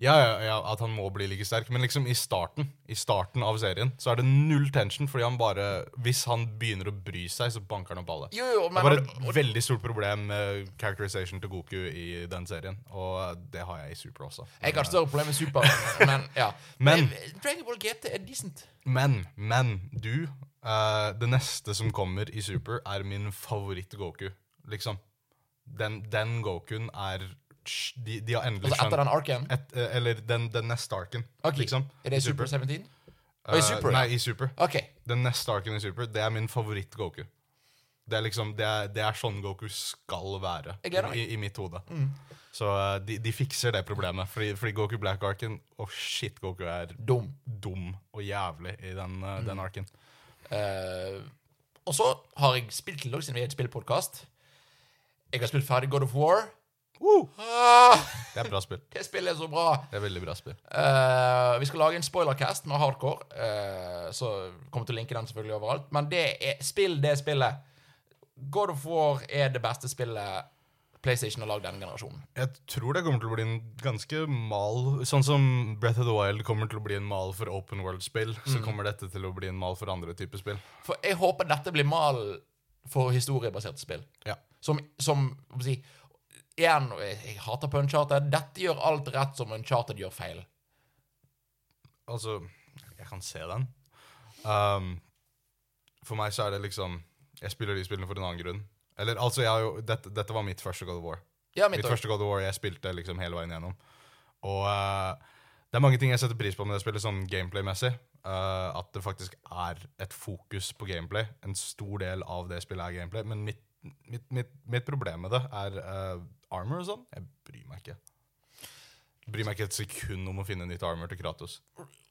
Speaker 2: Ja, ja, ja, at han må bli like sterk. Men liksom i starten I starten av serien så er det null tension, fordi han bare Hvis han begynner å bry seg, så banker han opp alle.
Speaker 1: Jo, jo,
Speaker 2: det
Speaker 1: men
Speaker 2: var et veldig stort problem med characterization til Goku i den serien. Og det har jeg i Super også.
Speaker 1: Jeg har større problemer med Super, men ja.
Speaker 2: (laughs) Men-
Speaker 1: Eh, Dragon Ball GT er decent.
Speaker 2: Men, men du eh, Det neste som kommer i Super, er min favoritt-Goku. Liksom. Den, den Gokuen er de, de har endelig
Speaker 1: Altså etter den arken.
Speaker 2: et, eh, Eller den, den neste arken,
Speaker 1: Ok,
Speaker 2: liksom.
Speaker 1: Er det
Speaker 2: i
Speaker 1: Super 17? Og i
Speaker 2: Eh,
Speaker 1: Super,
Speaker 2: nei,
Speaker 1: ja.
Speaker 2: i Super.
Speaker 1: OK.
Speaker 2: Den neste arken i Super, det er min favoritt-Goku. Det er liksom, det er, det er sånn Goku skal være
Speaker 1: Jeg gleder meg. Mm.
Speaker 2: i, i mitt hode. Så eh, de, de fikser det problemet, fordi, fordi Goku Black-arken Å, shit, Goku er
Speaker 1: Dum. Mm.
Speaker 2: dum og jævlig i den, eh, den arken.
Speaker 1: Eh, og så har jeg spilt til dere siden vi er et spillpodkast. Jeg har spilt ferdig God of War. Ah,
Speaker 2: Det er bra spill.
Speaker 1: det spillet er så bra.
Speaker 2: Det er veldig bra spill.
Speaker 1: Eh, vi skal lage en spoilercast med hardcore. eh, så kommer til å linke den selvfølgelig overalt. Men det er, spill det spillet. God of War er det beste spillet PlayStation har lagd denne generasjonen.
Speaker 2: Jeg tror det kommer til å bli en ganske mal Sånn som Breath of the Wild kommer til å bli en mal for open world-spill, så kommer dette til å bli en mal for andre typer spill.
Speaker 1: For jeg håper dette blir malen for historiebaserte spill.
Speaker 2: Ja.
Speaker 1: Som, som hva skal jeg si, Igjen, og jeg, jeg hater på Uncharted. Dette gjør alt rett som Uncharted gjør feil.
Speaker 2: Altså, jeg kan se den. Um, for meg så er det liksom Jeg spiller de spillene for en annen grunn. Eller altså, jeg har jo, dette, dette var mitt første God of War.
Speaker 1: Ja, mitt
Speaker 2: Mitt
Speaker 1: også.
Speaker 2: første God of War jeg spilte liksom hele veien gjennom. Og eh, det er mange ting jeg setter pris på med det spillet, sånn gameplay-messig. Eh, at det faktisk er et fokus på gameplay. En stor del av det spillet er gameplay. Men mitt, mitt, mitt, mitt problem med det er eh, armor og sånn. Jeg bryr meg ikke. Jeg bryr meg ikke et sekund om å finne nytt armor til Kratos.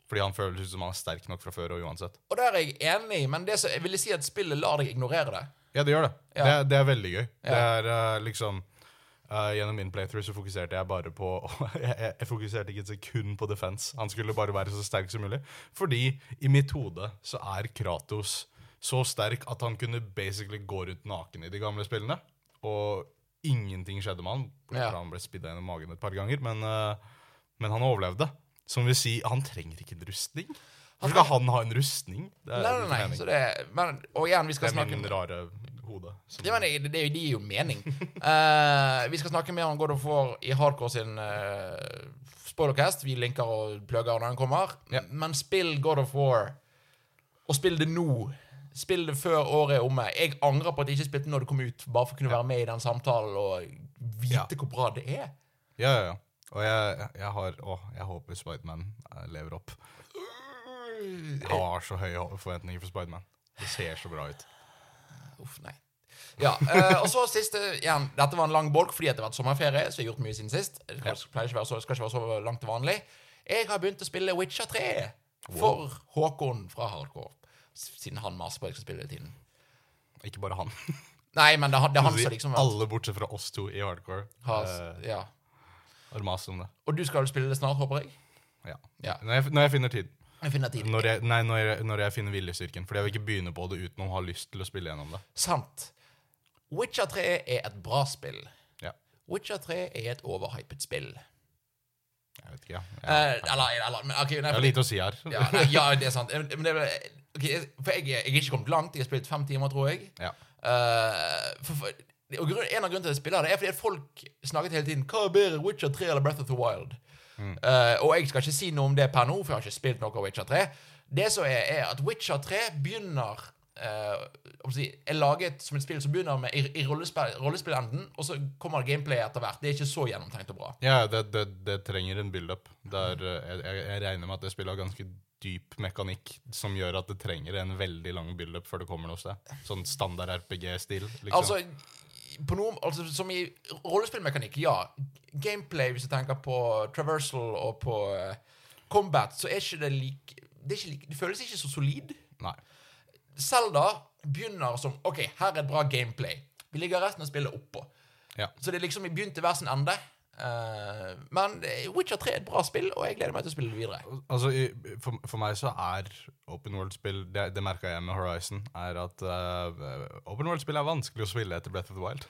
Speaker 2: Fordi han føles ut som han er sterk nok fra før og uansett.
Speaker 1: Og der er jeg enig, men det som, jeg ville si at spillet lar deg ignorere det.
Speaker 2: Ja, det gjør det.
Speaker 1: Ja.
Speaker 2: Det, er- det er veldig gøy. Det er eh, liksom eh, Gjennom min playthrough så fokuserte jeg bare på (laughs) jeg, jeg, jeg fokuserte ikke et sekund på defense. Han skulle bare være så sterk som mulig. Fordi i mitt hode så er Kratos så sterk at han kunne basically gå rundt naken i de gamle spillene. Og ingenting skjedde med han.
Speaker 1: Ja.
Speaker 2: Ja. Han ble spidda gjennom magen et par ganger, men, eh, men han overlevde. Som vil si, han trenger ikke en rustning. Hvorfor skal han ha en rustning? Det er
Speaker 1: Nei,
Speaker 2: min
Speaker 1: nei,
Speaker 2: mening.
Speaker 1: nei. Så det, men, og igjen, vi skal
Speaker 2: Det er
Speaker 1: snakke
Speaker 2: min rare hode. som-
Speaker 1: Ja, men det, det, det gir jo mening. (laughs) Eh, vi skal snakke mer om God of War i Hardcore sin eh, spoilercast. Vi linker og plugger når den kommer. Men spill God of War, og spill det nå. Spill det før året er omme. Jeg angrer på at jeg ikke spilte når det kom ut, bare for å kunne være med i den samtalen og vite
Speaker 2: Ja.
Speaker 1: hvor bra det er.
Speaker 2: Ja, ja, ja. Og jeg, jeg har Å, jeg håper Spiderman eh, lever opp. Jeg har så høye hå- forventninger for Spiderman. Det ser så bra ut.
Speaker 1: Uff, nei. Ja, eh, og så siste igjen. Dette var en lang bolk fordi at det har vært sommerferie. Så jeg har gjort mye siden sist. Det skal, pleier ikke være så, skal ikke være så langt til vanlig. Jeg har begynt å spille Witcher 3 for Håkon fra Hardcore. s- Siden han maser på at jeg skal spille det i tiden.
Speaker 2: Ikke bare han.
Speaker 1: Nei, men det, er han- det er han
Speaker 2: Vi
Speaker 1: som liksom
Speaker 2: (laughs)
Speaker 1: har,
Speaker 2: Alle bortsett fra oss to i hardcore eh,
Speaker 1: har ja.
Speaker 2: har mast om det.
Speaker 1: Og du skal vel spille det snart, håper jeg?
Speaker 2: Ja.
Speaker 1: Ja.
Speaker 2: Når, jeg, når jeg finner tid.
Speaker 1: Jeg finner tid.
Speaker 2: Når jeg, nei, når jeg, når jeg finner viljestyrken. Fordi jeg vil ikke begynne på det uten å ha lyst til å spille gjennom det.
Speaker 1: Sant. Witcher 3 er et bra spill.
Speaker 2: Ja.
Speaker 1: Witcher 3 er et overhypet spill.
Speaker 2: Jeg vet ikke, jeg. Jeg,
Speaker 1: Eh, eller, eller men, ok, nei,
Speaker 2: jeg har lite å si her.
Speaker 1: Ja, nei, ja, det er sant. Men det, er- ok, jeg- for jeg, jeg er ikke kommet langt. Jeg har spilt fem timer, tror jeg.
Speaker 2: Ja.
Speaker 1: Eh, for, for, og grunn, en av grunnene til at jeg spiller det, er fordi at folk snakket hele tiden Hva er bedre, Witcher 3 eller Breath of the Wild? Eh, og jeg skal ikke si noe om det per nå, for jeg har ikke spilt noe av Witcher 3. Det som er, er at Witcher 3 begynner eh, hva skal jeg si, er laget som et spill som begynner med i, i rollespill, rollespillenden, og så kommer gameplay etter hvert. Det er ikke så gjennomtenkt og bra.
Speaker 2: Ja, det, det, det trenger en build-up. Det er, eh, Jeg, jeg- jeg regner med at det spillet har ganske dyp mekanikk som gjør at det trenger en veldig lang build-up før det kommer noe sted. Sånn standard RPG-stil. Liksom.
Speaker 1: Altså, på noen, altså som i rollespillmekanikk, ja. Gameplay, hvis du tenker på traversal og på eh, combat, så er ikke det like det, er ikke like, det føles ikke så solid.
Speaker 2: Nei.
Speaker 1: Zelda begynner som OK, her er et bra gameplay. Vi ligger resten av spillet oppå.
Speaker 2: Ja.
Speaker 1: Så det er liksom vi begynte hver sin ende. Eh, men eh, Witcher 3 er et bra spill, og jeg gleder meg til å spille det videre.
Speaker 2: Altså, i- for, for meg så er open world-spill Det, det merka jeg med Horizon, er at eh, open world-spill er vanskelig å spille etter Breath of the Wild.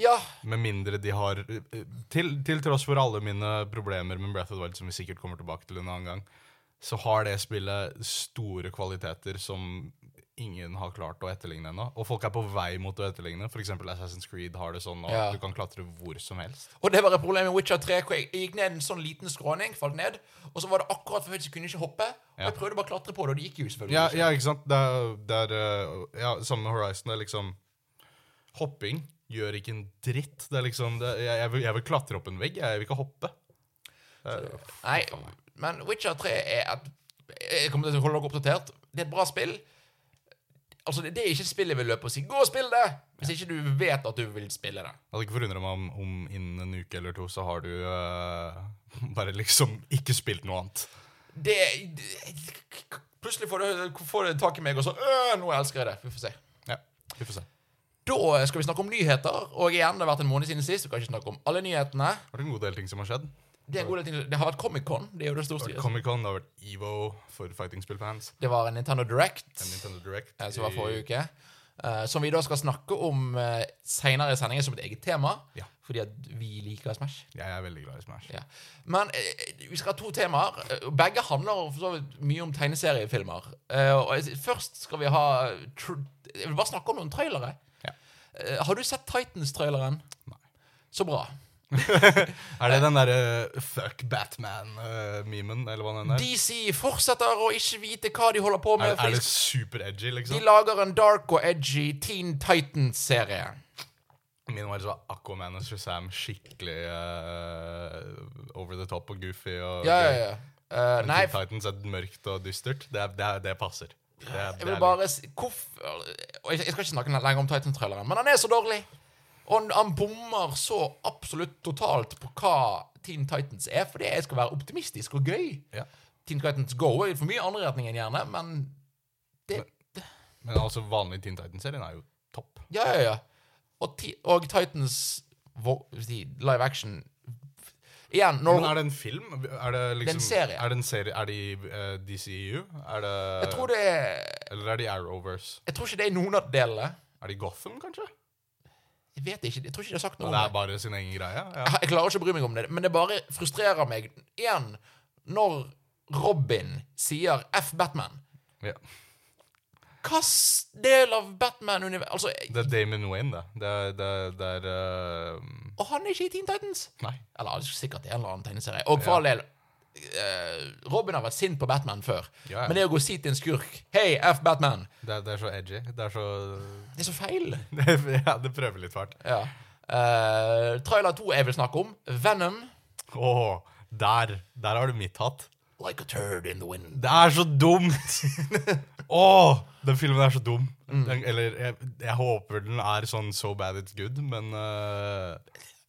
Speaker 1: Ja,
Speaker 2: Med mindre de har eh, til, til tross for alle mine problemer med Breath of the Wild, som vi sikkert kommer tilbake til en annen gang, så har det spillet store kvaliteter som ingen har klart å etterligne ennå. Og folk er på vei mot å etterligne. F.eks. Assassin's Creed har det sånn at
Speaker 1: Ja.
Speaker 2: du kan klatre hvor som helst.
Speaker 1: Og det var et problem med Witcher 3. Hvor jeg jeg gikk ned en sånn liten skråning, falt ned, og så var det akkurat for høyt, så jeg kunne ikke hoppe. Og jeg prøvde bare å klatre på det, og det gikk jo selvfølgelig
Speaker 2: Ja,
Speaker 1: ikke.
Speaker 2: ja ikke sant? Det er, det er eh, ja, samme med Horizon. Det er liksom Hopping gjør ikke en dritt. Det er liksom det, jeg, jeg, vil, jeg vil klatre opp en vegg, jeg vil ikke hoppe.
Speaker 1: Nei, men Witcher 3 er et Jeg kommer til å holde dere oppdatert. Det er et bra spill. Altså, det, det er ikke et spill jeg vil løpe og si 'gå og spill det', hvis ikke du vet at du vil spille det.
Speaker 2: Jeg hadde ikke forundret meg om, om innen en uke eller to så har du eh, (laughs) bare liksom ikke spilt noe annet.
Speaker 1: Det, det Plutselig får du, får du tak i meg og så 'Øh, nå elsker jeg det'. Vi får se.
Speaker 2: Ja, vi får se.
Speaker 1: Da skal vi snakke om nyheter. Og igjen, det har vært en måned siden sist. Vi kan ikke snakke om alle nyhetene.
Speaker 2: Har det en god del ting som har skjedd?
Speaker 1: Det, er en god del ting- det har vært Comic-Con. Det er jo det
Speaker 2: Comic
Speaker 1: storstilige.
Speaker 2: Con, det har vært EVO for fighting-spillfans.
Speaker 1: Det var en Nintendo Direct.
Speaker 2: En Nintendo Direct.
Speaker 1: eh, som var forrige uke. eh, som vi da skal snakke om uh, seinere i sendingen som et eget tema,
Speaker 2: Ja.
Speaker 1: fordi at vi liker Smash.
Speaker 2: Jeg er veldig glad i Smash.
Speaker 1: Ja. Men eh, vi skal ha to temaer. eh, Begge handler for så vidt mye om tegneseriefilmer. Eh, og jeg, først skal vi ha eh, tr Jeg vil bare snakke om noen trailere.
Speaker 2: Ja.
Speaker 1: Eh, har du sett Titans-traileren?
Speaker 2: Nei.
Speaker 1: Så bra.
Speaker 2: Er det den derre fuck Batman-memen, eller hva den er?
Speaker 1: DC fortsetter å ikke vite hva de holder på med.
Speaker 2: Er,
Speaker 1: for
Speaker 2: er
Speaker 1: de
Speaker 2: det super-edgy,
Speaker 1: De
Speaker 2: liksom?
Speaker 1: lager en dark og edgy Teen Titans-serie.
Speaker 2: Min var liksom Aquaman og Shazam skikkelig eh, over the top og goofy. Og
Speaker 1: Ja, ja, ja. Eh,
Speaker 2: Men
Speaker 1: nei,
Speaker 2: Teen Titans er mørkt og dystert. Det, er, det, er, det passer. Det er,
Speaker 1: jeg
Speaker 2: det
Speaker 1: vil
Speaker 2: er
Speaker 1: bare si Hvorfor og Jeg jeg skal ikke snakke lenger om Titans-traileren, men han er så dårlig. Og han- han bommer så absolutt totalt på hva Teen Titans er, fordi jeg skal være optimistisk og gøy.
Speaker 2: Ja.
Speaker 1: Teen Titans Go er for mye i andre retning enn gjerne, men det
Speaker 2: Men altså, vanlig Teen Titans-serien er jo topp.
Speaker 1: Ja, ja, ja. Og, ti, og Titans vo- si, live action Igjen, når
Speaker 2: Men er det en film? Er det liksom
Speaker 1: Det er en serie.
Speaker 2: Er det, en serie? Er det i eh, DCEU? Er det
Speaker 1: Jeg tror det er
Speaker 2: Eller er det i Arrowverse?
Speaker 1: Jeg tror ikke det er noen av delene.
Speaker 2: Er det i Gotham, kanskje?
Speaker 1: Jeg vet ikke, jeg tror ikke de har sagt noe
Speaker 2: Det er
Speaker 1: om det.
Speaker 2: bare sin egen greie? Ja.
Speaker 1: Jeg klarer ikke å bry meg om det, men det bare frustrerer meg. Igjen, når Robin sier F Batman
Speaker 2: ja.
Speaker 1: Hvilken del av Batman-universet Altså,
Speaker 2: Det er Damon Wayne, det. Det er, det er, det er eh,
Speaker 1: og han er ikke i Teen Titans!
Speaker 2: Nei.
Speaker 1: Eller han er sikkert i en eller annen tegneserie. Og for all del, eh, Robin har vært sint på Batman før,
Speaker 2: Ja, ja.
Speaker 1: men det å gå og si til en skurk Hei, F Batman!
Speaker 2: Det er, det er så edgy. Det er så (laughs)
Speaker 1: Det er så feil!
Speaker 2: Ja, det prøver litt fælt.
Speaker 1: Ja. Eh, trailer 2 jeg vil snakke om. Venom.
Speaker 2: Åh, der! Der har du mitt hatt.
Speaker 1: Like a turd in the wind.
Speaker 2: Det er så (laughs) dumt! Åh, den filmen er så dum. Den, eller, jeg, jeg håper den er sånn so bad it's good, men øh,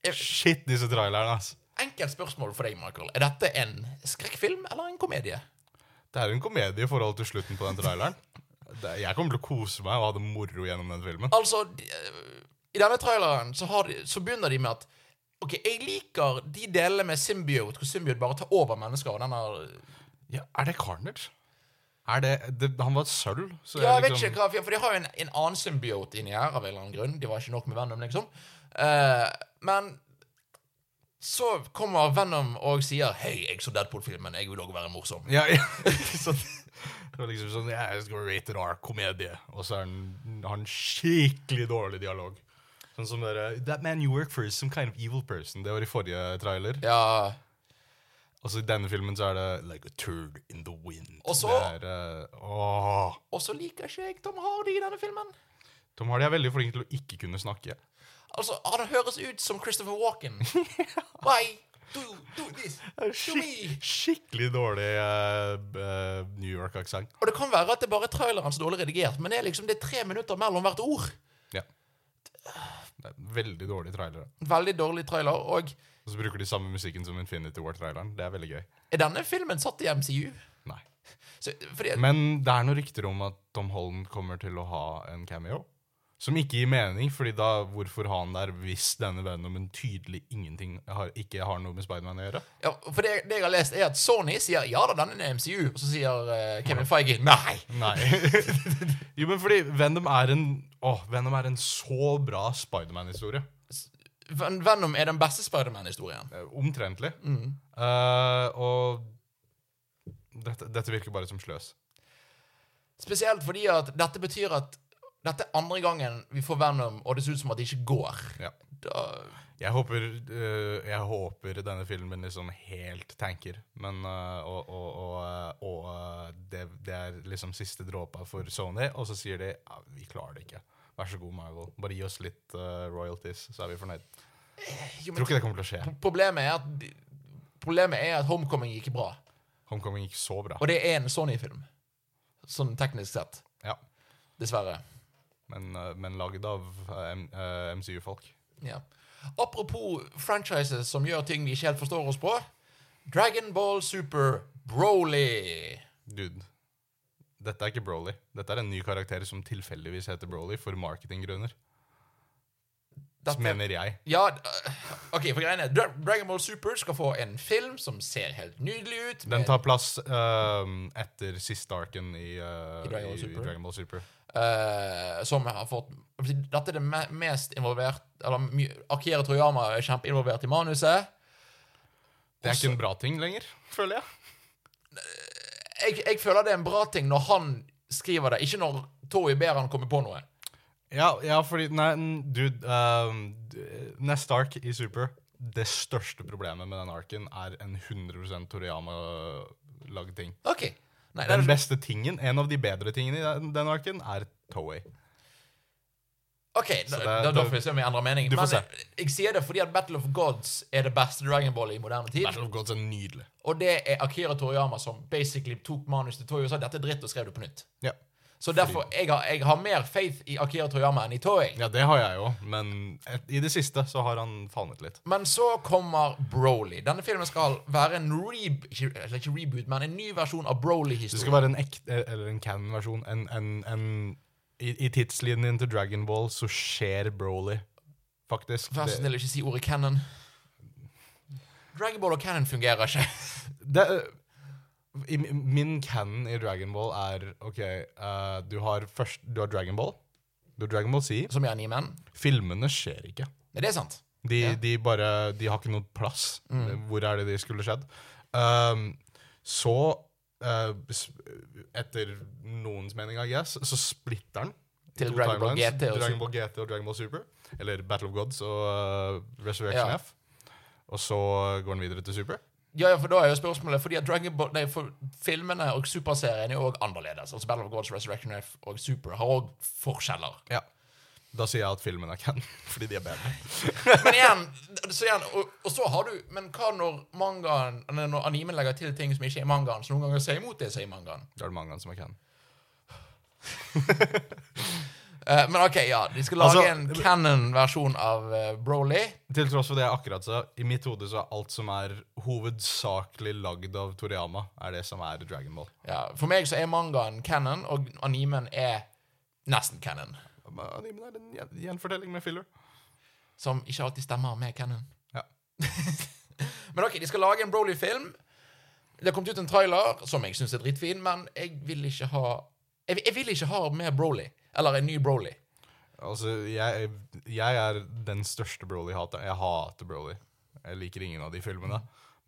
Speaker 1: Jeg-
Speaker 2: Shit, disse trailerne, ass.
Speaker 1: Enkelt spørsmål for deg, Michael. Er dette en skrekkfilm eller en komedie?
Speaker 2: Det er jo en komedie i forhold til slutten på den traileren. Det, jeg kommer til å kose meg og ha det moro gjennom den filmen.
Speaker 1: Altså, de- øh, i denne traileren så, har de, så begynner de med at Ok, jeg liker de delene med symbiote, hvor symbiote bare tar over mennesker. og den eh, har...
Speaker 2: Ja, er det Carnage? Er det, det Han var et sølv, så liksom-
Speaker 1: Ja, jeg vet ikke hva, liksom- for- for de har jo en, en annen symbiote inni her av en eller annen grunn. De var ikke nok med Venom, liksom. Eh, men så kommer Venom og sier 'Hei, jeg så Deadpool-filmen. Jeg vil også være morsom'.
Speaker 2: Ja, ja. (laughs) Så det var liksom sånn ja, Jeg skal rate en R-komedie, og så er han, har han skikkelig dårlig dialog. Sånn som dere That man you work for is some kind of evil person. Det var i forrige trailer.
Speaker 1: Ja,
Speaker 2: Og så i denne filmen så er det Like a turd in the wind.
Speaker 1: Og så-
Speaker 2: Det er, eh, åh.
Speaker 1: Og så liker ikke jeg Tom Hardy i denne filmen.
Speaker 2: Tom Hardy er veldig flink til å ikke kunne snakke.
Speaker 1: Altså, Han høres ut som Christopher Walken. Why do you do this
Speaker 2: Oh,
Speaker 1: to me?
Speaker 2: Skik skikkelig dårlig eh, eh, New York-aksent.
Speaker 1: Og det kan være at det bare er traileren som er dårlig redigert, men det er liksom det er tre minutter mellom hvert ord.
Speaker 2: Ja. Det er veldig dårlig trailer.
Speaker 1: Veldig dårlig trailer. Og
Speaker 2: Og så bruker de samme musikken som Infinity War-traileren. Det er veldig gøy.
Speaker 1: er denne filmen satt i MCU?
Speaker 2: Nei.
Speaker 1: Så, fordi,
Speaker 2: Men det er noen rykter om at Tom Holland kommer til å ha en cameo. Som ikke gir mening, fordi da hvorfor ha han der hvis denne Venomen tydelig ingenting har, ikke har noe med Spiderman å gjøre?
Speaker 1: ja, for det, det jeg har lest, er at Sony sier ja da, denne er MCU, og så sier eh, Kevin Feige nei.
Speaker 2: Nei. (laughs) jo, men fordi Venom er en Åh, Venom er en så bra Spiderman-historie.
Speaker 1: Ven- Venom er den beste Spiderman-historien.
Speaker 2: Eh, Omtrentlig. Eh, og dette, dette virker bare som sløs.
Speaker 1: Spesielt fordi at dette betyr at dette er andre gangen vi får Venom, og det ser ut som at det ikke går.
Speaker 2: Ja.
Speaker 1: Da,
Speaker 2: Jeg håper, øh, jeg håper denne filmen liksom helt tanker, men øh, og, og, og, øh, og øh, det, det er liksom siste dråpa for Sony, og så sier de ja, vi klarer det ikke. Vær så god, Marvel. Bare gi oss litt øh, royalties, så er vi fornøyd.
Speaker 1: jo, men
Speaker 2: Tror ikke det kommer til å skje.
Speaker 1: Problemet er at Problemet er at Homecoming gikk bra.
Speaker 2: Homecoming gikk så bra.
Speaker 1: Og det er en Sony-film. Sånn teknisk sett.
Speaker 2: Ja,
Speaker 1: Dessverre.
Speaker 2: Men, øh, men lagd av øh, M- øh, MCU-folk.
Speaker 1: Ja. Apropos franchises som gjør ting vi ikke helt forstår oss på. Dragon Ball Super Broly.
Speaker 2: Dude. Dette er ikke Broly. Dette er en ny karakter som tilfeldigvis heter Broly for marketinggrunner.
Speaker 1: Dette-
Speaker 2: Mener jeg.
Speaker 1: Ja, øh, OK, for greiene er, Dra- Dragon Ball Super skal få en film som ser helt nydelig ut.
Speaker 2: Den
Speaker 1: med-
Speaker 2: tar plass ehm, etter siste arken i, eh,
Speaker 1: I Dragon Ball
Speaker 2: i, i
Speaker 1: Super.
Speaker 2: Dragon Ball Super.
Speaker 1: eh, som har fått Dette er det me- mest involvert Eller my- Akira Toyama er kjempeinvolvert i manuset.
Speaker 2: Det er ikke en bra ting lenger, føler jeg.
Speaker 1: Jeg, jeg føler det er en bra ting når han skriver det, ikke når Toei ber han komme på noe.
Speaker 2: Ja, ja fordi Nei, n- dude. ehm, d- neste ark i Super Det største problemet med den arken er en 100 Toriyama-lagd ting.
Speaker 1: OK. Nei, det
Speaker 2: Den
Speaker 1: er,
Speaker 2: beste tingen, en av de bedre tingene i den, den arken, er Toei.
Speaker 1: ok, da,
Speaker 2: det-
Speaker 1: da, da
Speaker 2: det-
Speaker 1: får vi se om jeg endrer mening.
Speaker 2: Du får
Speaker 1: Men jeg, jeg sier det fordi at Battle of Gods er det beste Dragon Ball i moderne tid.
Speaker 2: Battle of Gods er nydelig.
Speaker 1: Og det er Akira Toriyama som basically tok manus til Toei og sa dette er dritt, og skrev det på nytt.
Speaker 2: Ja,
Speaker 1: Så derfor, jeg har, jeg har mer faith i Akira Toriyama enn i Toei.
Speaker 2: ja det har jeg jo, men et, i det siste så har han falmet litt.
Speaker 1: Men så kommer Broly. Denne filmen skal være en reb... Ikke, eller ikke reboot, men en ny versjon av
Speaker 2: Det
Speaker 1: Broly-historien.
Speaker 2: skal være en ekte, eller en canon-versjon. En, en, en, i, I tidslinjen til Dragon Ball så skjer Broly, faktisk.
Speaker 1: Vær så
Speaker 2: Det,
Speaker 1: snill, ikke si ordet cannon. Dragon Ball og cannon fungerer ikke. (laughs)
Speaker 2: det, øh, i, mi- min canon i Dragon Ball er OK, eh, du har først Du har Dragon Ball. Du har Dragon Ball Z.
Speaker 1: Som i animen.
Speaker 2: Filmene skjer ikke.
Speaker 1: Nei, det er sant.
Speaker 2: De, de bare De har ikke noe plass.
Speaker 1: Mm.
Speaker 2: Hvor er det de skulle skjedd? Ehm, så eh, s- Etter noens mening, I guess, så splitter han. i
Speaker 1: Til
Speaker 2: to
Speaker 1: Dragon Ball
Speaker 2: timelines.
Speaker 1: GT og
Speaker 2: Dragon
Speaker 1: Super.
Speaker 2: Ball GT og Dragon Ball Super. Eller Battle of Gods og eh, Resurrection
Speaker 1: Ja.
Speaker 2: F. Og så går han videre til Super.
Speaker 1: Ja, ja, for da er jo spørsmålet Fordi at Dragon Ball Nei, for filmene og superserien er jo også annerledes. Altså Battle of Gods, Resurrection F og Super har òg forskjeller.
Speaker 2: Ja. Da sier jeg at filmen er canon, (laughs) fordi de er bedre.
Speaker 1: Men igjen, (laughs) så igjen og, og så har du Men hva når mangaen eller Når animen legger til ting som ikke er i mangaen, som noen ganger sier imot det som er i mangaen?
Speaker 2: Da er det mange som er canon.
Speaker 1: Eh, men OK, ja. De skal lage
Speaker 2: Altså-
Speaker 1: en canon-versjon av eh, Broly.
Speaker 2: Til tross for det jeg akkurat sa, i mitt hode så er alt som er hovedsakelig lagd av Toriyama, er det som er Dragon Ball.
Speaker 1: Ja, for meg så er mangaen canon, og animen er nesten canon.
Speaker 2: Men Animen er en gjen- gjenfortelling med filler.
Speaker 1: Som ikke alltid stemmer med canon.
Speaker 2: Ja.
Speaker 1: (laughs) Men ok, de skal lage en Broly-film. Det har kommet ut en trailer som jeg syns er dritfin, men jeg vil ikke ha jeg, jeg vil ikke ha mer Broly. Eller en ny Broly.
Speaker 2: Altså, jeg, jeg er den største Broly-hater. Jeg hater Broly. Jeg liker ingen av de filmene.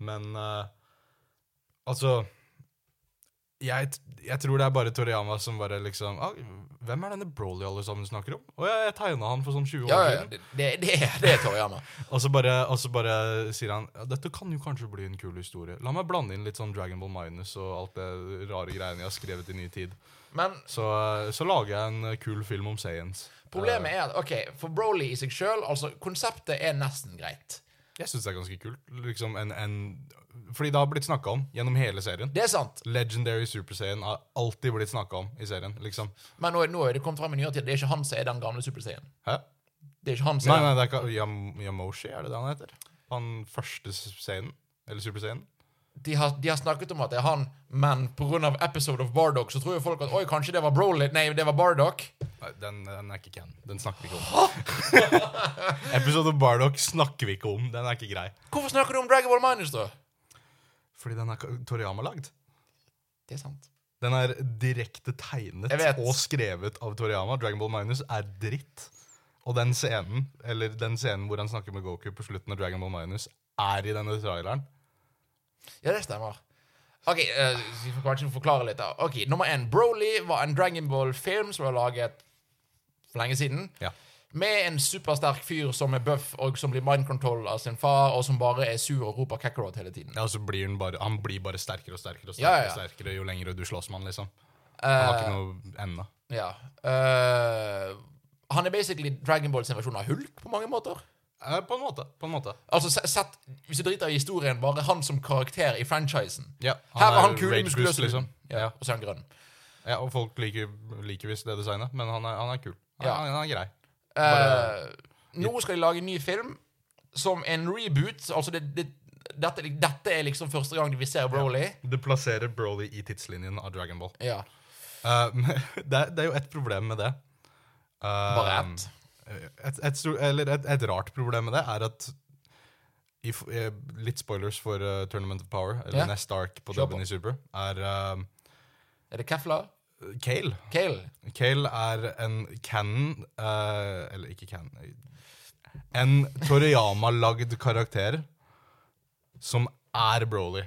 Speaker 2: Men eh, altså jeg, t- jeg tror det er bare Toriyama som bare liksom ah, Hvem er denne Broly alle sammen snakker om? Å ja, jeg tegna han for sånn 20 år
Speaker 1: Ja, ja, ja,
Speaker 2: siden.
Speaker 1: det, det, det, er- det er Toriyama.
Speaker 2: Og så bare, og så bare sier han ja, dette kan jo kanskje bli en kul historie. La meg blande inn litt sånn Dragon Ball Minus og alt det rare greiene jeg har skrevet i ny tid.
Speaker 1: Men
Speaker 2: Så, eh, så lager jeg en eh, kul film om Sayans.
Speaker 1: problemet er at ok, for Broly i seg sjøl, altså konseptet er nesten greit.
Speaker 2: Jeg syns det er ganske kult. Liksom en, en, fordi det har blitt snakka om gjennom hele serien.
Speaker 1: Det er sant,
Speaker 2: Legendary Super Saiyan har alltid blitt snakka om i serien. liksom.
Speaker 1: men nå, nå er det kommet fram i nyere tid. Det er ikke han som er den gamle Super Saiyan.
Speaker 2: Hæ?
Speaker 1: Det er ikke han som
Speaker 2: Nei,
Speaker 1: er
Speaker 2: nei, det er ikke Yam Yamoshi, er det det han heter? Han første Saiyan? Eller Super Saiyan?
Speaker 1: de, har, de har snakket om at det er han, men pga. episode of Bardock så tror jo folk at oi, kanskje det var Broly Nei, det var Bardock.
Speaker 2: Nei, den, den er ikke canon. Den snakker vi ikke om. (laughs) Episode av Bardock snakker vi ikke om. Den er ikke grei.
Speaker 1: Hvorfor snakker du om Dragon Ball Minus, da?
Speaker 2: Fordi den er ka- Toriyama-lagd.
Speaker 1: Det er sant.
Speaker 2: Den er direkte tegnet
Speaker 1: Jeg vet.
Speaker 2: og skrevet av Toriyama. Dragon Ball Minus er dritt. Og den scenen eller den scenen hvor han snakker med Goku på slutten av Dragon Ball Minus, er i denne traileren.
Speaker 1: Ja, det stemmer. OK, eh, vi får kanskje forklare litt. da. Ok, Nummer én. Broly var en Dragon Ball-film som var laget for lenge siden.
Speaker 2: Ja.
Speaker 1: Med en supersterk fyr som er buff og som blir mind control av sin far, og som bare er sur og roper Kakarot hele tiden.
Speaker 2: og så blir han bare, han blir bare sterkere og sterkere og
Speaker 1: Ja, ja, Eh,
Speaker 2: sterkere,
Speaker 1: ja.
Speaker 2: og sterkere jo lenger du slåss med han, liksom. Han har ikke noe ende.
Speaker 1: Ja. Eh, han er basically Dragon Ball sin versjon av Hulk på mange måter.
Speaker 2: Eh, på en måte. På en måte.
Speaker 1: Altså, se- sett, Hvis du driter i historien, bare han som karakter i franchisen.
Speaker 2: Ja,
Speaker 1: Her var han
Speaker 2: er
Speaker 1: kul,
Speaker 2: Rage
Speaker 1: muskuløs,
Speaker 2: Boost,
Speaker 1: liksom. Ja,
Speaker 2: Ja.
Speaker 1: og så er han grønn.
Speaker 2: Ja, og folk liker, liker visst det designet, men han er, han er kul. Han,
Speaker 1: Ja.
Speaker 2: han, han er grei.
Speaker 1: Eh, nå skal de lage en ny film som en reboot. Altså, det, det, dette, dette er liksom første gang vi ser Broly.
Speaker 2: Det plasserer Broly i tidslinjen av Dragon Ball.
Speaker 1: Ja.
Speaker 2: Eh, (laughs) men det, er, det er jo et problem med det. Eh,
Speaker 1: Bare ett.
Speaker 2: Et, et, stor- eller et, et rart problem med det er at i f- eh, Litt spoilers for eh, Tournament of Power, eller
Speaker 1: Ja.
Speaker 2: neste ark på
Speaker 1: Kjør på.
Speaker 2: Dubben i Super, er eh,
Speaker 1: Er det Kefla?
Speaker 2: Kale.
Speaker 1: Kale.
Speaker 2: Kale er en canon eh, Eller ikke canon En Toriyama-lagd karakter som er Broly.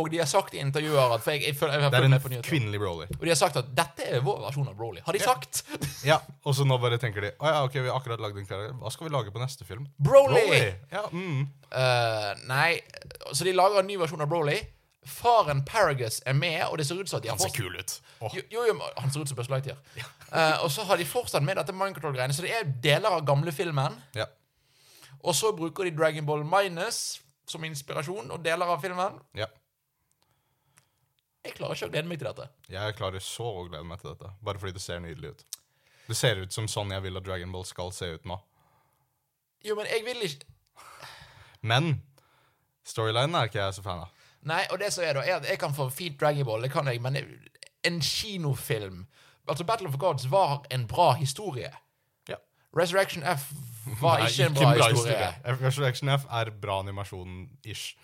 Speaker 1: Og de har sagt i intervjuer at for jeg, jeg, føler- jeg, har
Speaker 2: Det er
Speaker 1: fulgt
Speaker 2: en
Speaker 1: med på nyheter.
Speaker 2: kvinnelig Broly.
Speaker 1: Og de har sagt at dette er vår versjon av Broly. Har de sagt? (laughs)
Speaker 2: Ja, Og så nå bare tenker de Å ja, ok, vi har akkurat lagd en karakter. Hva skal vi lage på neste film?
Speaker 1: Broly!
Speaker 2: Ja, mm.
Speaker 1: Eh, nei, så de lager en ny versjon av Broly. Faren Paragus er med, og det ser ut som at de har
Speaker 2: Han ser
Speaker 1: fortsatt
Speaker 2: kul ut. Åh.
Speaker 1: jo, jo, jo, men han ser ut som Buzz Lightyear. Eh, og så har de fortsatt med dette Minecraft-greiene, så det er deler av gamle filmen.
Speaker 2: Ja.
Speaker 1: Og så bruker de Dragon Ball Minus som inspirasjon, og deler av filmen.
Speaker 2: ja.
Speaker 1: Jeg klarer ikke å glede meg til dette.
Speaker 2: Jeg klarer så å glede meg til dette, bare fordi det ser nydelig ut. Det ser ut som sånn jeg vil at Dragon Ball skal se ut nå.
Speaker 1: Jo, men jeg vil ikke
Speaker 2: Men storylinen er ikke jeg så fan av.
Speaker 1: Nei, og det som er da, er at jeg kan få fint Dragon Ball, det kan jeg, men en kinofilm Altså, Battle of the Gods var en bra historie.
Speaker 2: Ja.
Speaker 1: Resurrection F var
Speaker 2: Nei,
Speaker 1: ikke en bra, historie.
Speaker 2: Resurrection F er bra animasjon-ish.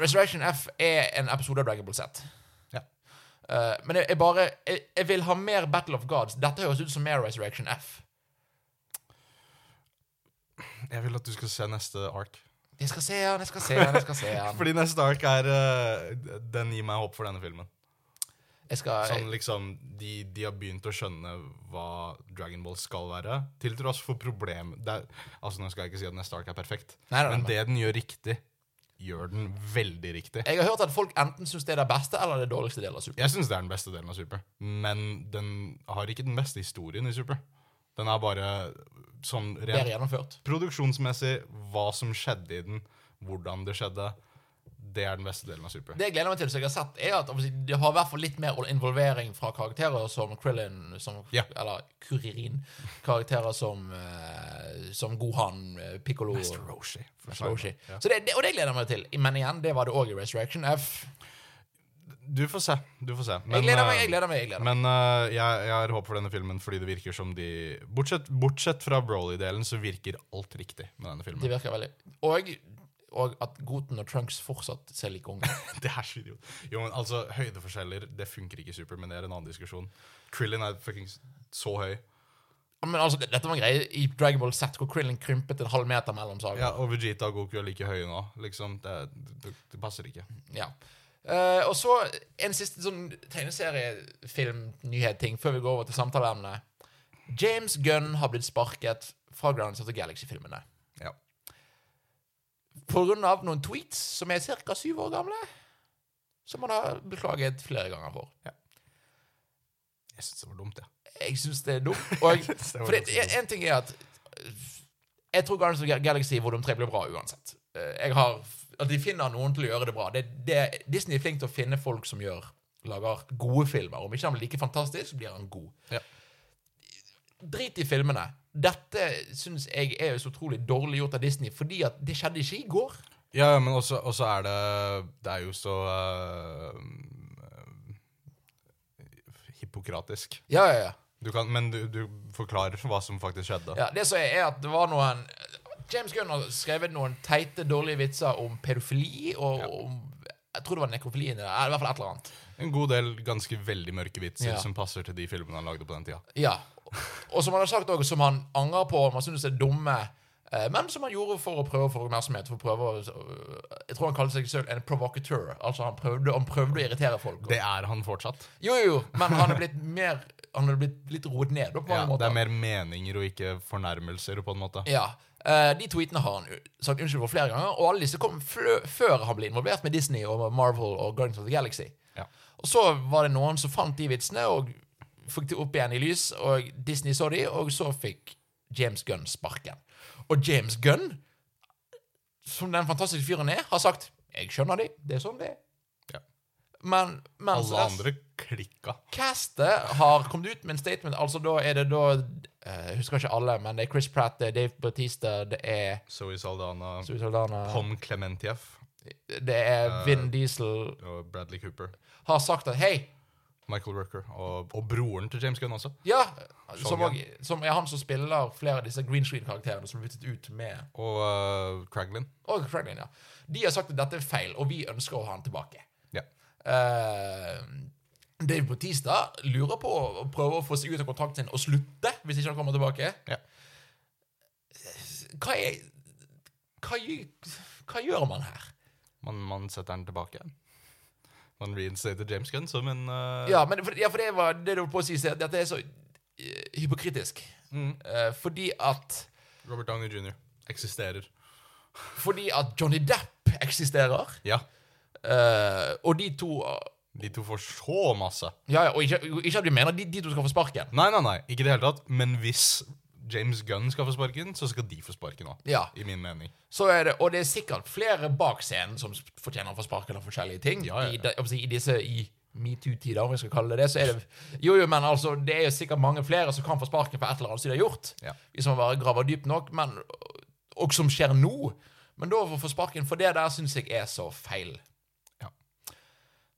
Speaker 1: Resurrection F er en episode av Dragon Ball Z.
Speaker 2: Ja.
Speaker 1: Eh, men jeg, jeg bare jeg, jeg vil ha mer Battle of Gods. Dette høres ut som mer Resurrection F.
Speaker 2: Jeg vil at du skal se neste ark.
Speaker 1: Jeg skal se han, jeg skal se han, jeg skal se
Speaker 2: (laughs)
Speaker 1: han.
Speaker 2: Fordi neste ark er eh, Den gir meg håp for denne filmen.
Speaker 1: Jeg skal,
Speaker 2: Sånn liksom, de, de har begynt å skjønne hva Dragon Ball skal være, til tross for problem det er, Altså, Nå skal jeg ikke si at neste ark er perfekt,
Speaker 1: Nei, nei, nei.
Speaker 2: men det den gjør riktig, gjør den veldig riktig.
Speaker 1: jeg har hørt at folk enten syns det er det beste eller det dårligste delen av Super.
Speaker 2: Jeg syns det er den beste delen av Super, men den har ikke den beste historien i Super. Den er bare sånn
Speaker 1: Bedre
Speaker 2: rent
Speaker 1: gjennomført.
Speaker 2: produksjonsmessig, hva som skjedde i den, hvordan det skjedde. Det er den beste delen av Super.
Speaker 1: Det jeg gleder meg til, som jeg har sett, er at obviously, det har i hvert fall litt mer involvering fra karakterer som Krillin, som,
Speaker 2: Ja.
Speaker 1: eller Kuririn, karakterer som, eh, som Gohan, eh, Piccolo
Speaker 2: Mr. Roshi.
Speaker 1: Master Roshi. Så det, det, og det gleder jeg meg til. Men igjen, det var det òg i Resurrection F.
Speaker 2: Du får se. du får se.
Speaker 1: jeg gleder meg,
Speaker 2: eh,
Speaker 1: jeg gleder meg. jeg gleder meg.
Speaker 2: Men eh, jeg, jeg har håp for denne filmen fordi det virker som de Bortsett, bortsett fra Broly-delen, så virker alt riktig med denne
Speaker 1: Det
Speaker 2: filmen.
Speaker 1: virker veldig Og, og at Goten og Trunks fortsatt ser like unge ut.
Speaker 2: (laughs)
Speaker 1: (laughs)
Speaker 2: Det er så idiot. Jo, men altså, Høydeforskjeller det funker ikke super, men det er en annen diskusjon. Krillin er fuckings så høy.
Speaker 1: Men altså, det- dette var en greie i Dragon Ball Z hvor Krillin krympet en halv meter mellom sagene. Ja.
Speaker 2: Ja, Og Vegeta og Goku er like høye nå. Liksom, Det, det, det passer ikke.
Speaker 1: Eh, og så en siste sånn tegneseriefilm-nyhet-ting før vi går over til samtaleemnet. James Gunn har blitt sparket fra Grounds of the Galaxy-filmene.
Speaker 2: Ja.
Speaker 1: På grunn av noen tweets som er ca. syv år gamle. Som han har beklaget flere ganger for.
Speaker 2: Jeg syns det var
Speaker 1: (laughs)
Speaker 2: dumt, jeg.
Speaker 1: Jeg syns det er dumt. Og
Speaker 2: Jeg synes det var
Speaker 1: for det,
Speaker 2: ganske dumt.
Speaker 1: en, en ting er at øh, Jeg tror Guardians of the Galaxy hvor de tre blir bra uansett. Eh, Jeg har, at de finner noen til å gjøre det bra. Det, det, Disney er flink til å finne folk som gjør lager gode filmer. Om ikke han blir like fantastisk, så blir han god.
Speaker 2: Ja.
Speaker 1: Drit i filmene. Dette syns jeg er så utrolig dårlig gjort av Disney, fordi at det skjedde ikke i går.
Speaker 2: Ja, ja, men også, også er det Det er jo så eh, eh, Hippokratisk.
Speaker 1: Ja, ja, ja.
Speaker 2: Du kan, men du, du forklarer hva som faktisk skjedde.
Speaker 1: Ja, det som er, er at det var noen James Gunn har skrevet noen teite, dårlige vitser om pedofili og om Jeg tror det var nekrofili inni det. eller I hvert fall et eller annet.
Speaker 2: En god del ganske veldig mørke vitser
Speaker 1: Ja.
Speaker 2: som passer til de filmene han lagde på den tida.
Speaker 1: Ja. Og som han har sagt også, som han angrer på, man synes er dumme, eh, men som han gjorde for å prøve å få oppmerksomhet. For å prøve å, eh, jeg tror han kalte seg selv en provokatør. Altså, han prøvde, han prøvde å irritere folk.
Speaker 2: Det er han fortsatt.
Speaker 1: Jo, jo, jo, men han er blitt mer Han er blitt litt roet ned, da, på mange
Speaker 2: Ja, det
Speaker 1: måter.
Speaker 2: er mer meninger og ikke fornærmelser, på en måte.
Speaker 1: Ja. Eh, de tweetene har han u- sagt unnskyld for flere ganger, og alle disse kom flø før han ble involvert med Disney og Marvel og Guardians of the Galaxy.
Speaker 2: Ja.
Speaker 1: Og så var det noen som fant de vitsene og fikk de opp igjen i lys, og Disney så de, og så fikk James Gunn sparken. Og James Gunn, som den fantastiske fyren er, har sagt 'Jeg skjønner de, det er sånn det er'.
Speaker 2: Ja.
Speaker 1: Men mens
Speaker 2: Alle andre klikka.
Speaker 1: Castet har kommet ut med en statement. Altså da er det da eh, Jeg husker ikke alle, men det er Chris Pratt, det er Dave Bautista, det er
Speaker 2: Zoe Saldana,
Speaker 1: Zoe Saldana,
Speaker 2: Pom Clementieff
Speaker 1: det er Vin
Speaker 2: Eh.
Speaker 1: Diesel
Speaker 2: og Bradley Cooper.
Speaker 1: Har sagt at hei,
Speaker 2: Michael Rooker og, og broren til James Gunn også.
Speaker 1: ja Som,
Speaker 2: Gunn.
Speaker 1: og- som er han som spiller flere av disse green screen-karakterene som er byttet ut med
Speaker 2: Og uh, Craglin.
Speaker 1: Og Franklin, ja. De har sagt at dette er feil, og vi ønsker å ha han tilbake.
Speaker 2: Ja.
Speaker 1: Eh, Dave Bautista lurer på å prøve å få seg ut av kontrakten sin og slutte hvis ikke han kommer tilbake.
Speaker 2: Ja.
Speaker 1: Hva er hva, gjø- hva gjør man her?
Speaker 2: Man, man setter den tilbake. Man reinstater James Gunn som en eh,
Speaker 1: Ja, men for, ja, for det var det du holdt på å si, så dette er så eh, hypokritisk.
Speaker 2: Mm.
Speaker 1: Eh, fordi at
Speaker 2: Robert Downey jr. eksisterer.
Speaker 1: Fordi at Johnny Depp eksisterer,
Speaker 2: Ja.
Speaker 1: eh, og de to
Speaker 2: De to får så masse.
Speaker 1: Ja, oh, ja, og ikke, ikke at vi mener de, de to skal få sparken.
Speaker 2: Nei, nei, nei. Ikke i det hele tatt. Men hvis James Gunn skal få sparken, så skal de få sparken òg.
Speaker 1: Ja,
Speaker 2: I min mening.
Speaker 1: så er det, Og det er sikkert flere bak scenen som fortjener å få sparken av forskjellige ting.
Speaker 2: Ja, ja, ja.
Speaker 1: I, de- jeg vil si, I disse i metoo-tider, om jeg skal kalle det det. så er det Jo, jo, men altså, det er jo sikkert mange flere som kan få sparken for et eller annet som de har gjort.
Speaker 2: Ja.
Speaker 1: Hvis man bare graver dypt nok. Men, og som skjer nå. Men da å få sparken for det der syns jeg er så feil.
Speaker 2: Ja.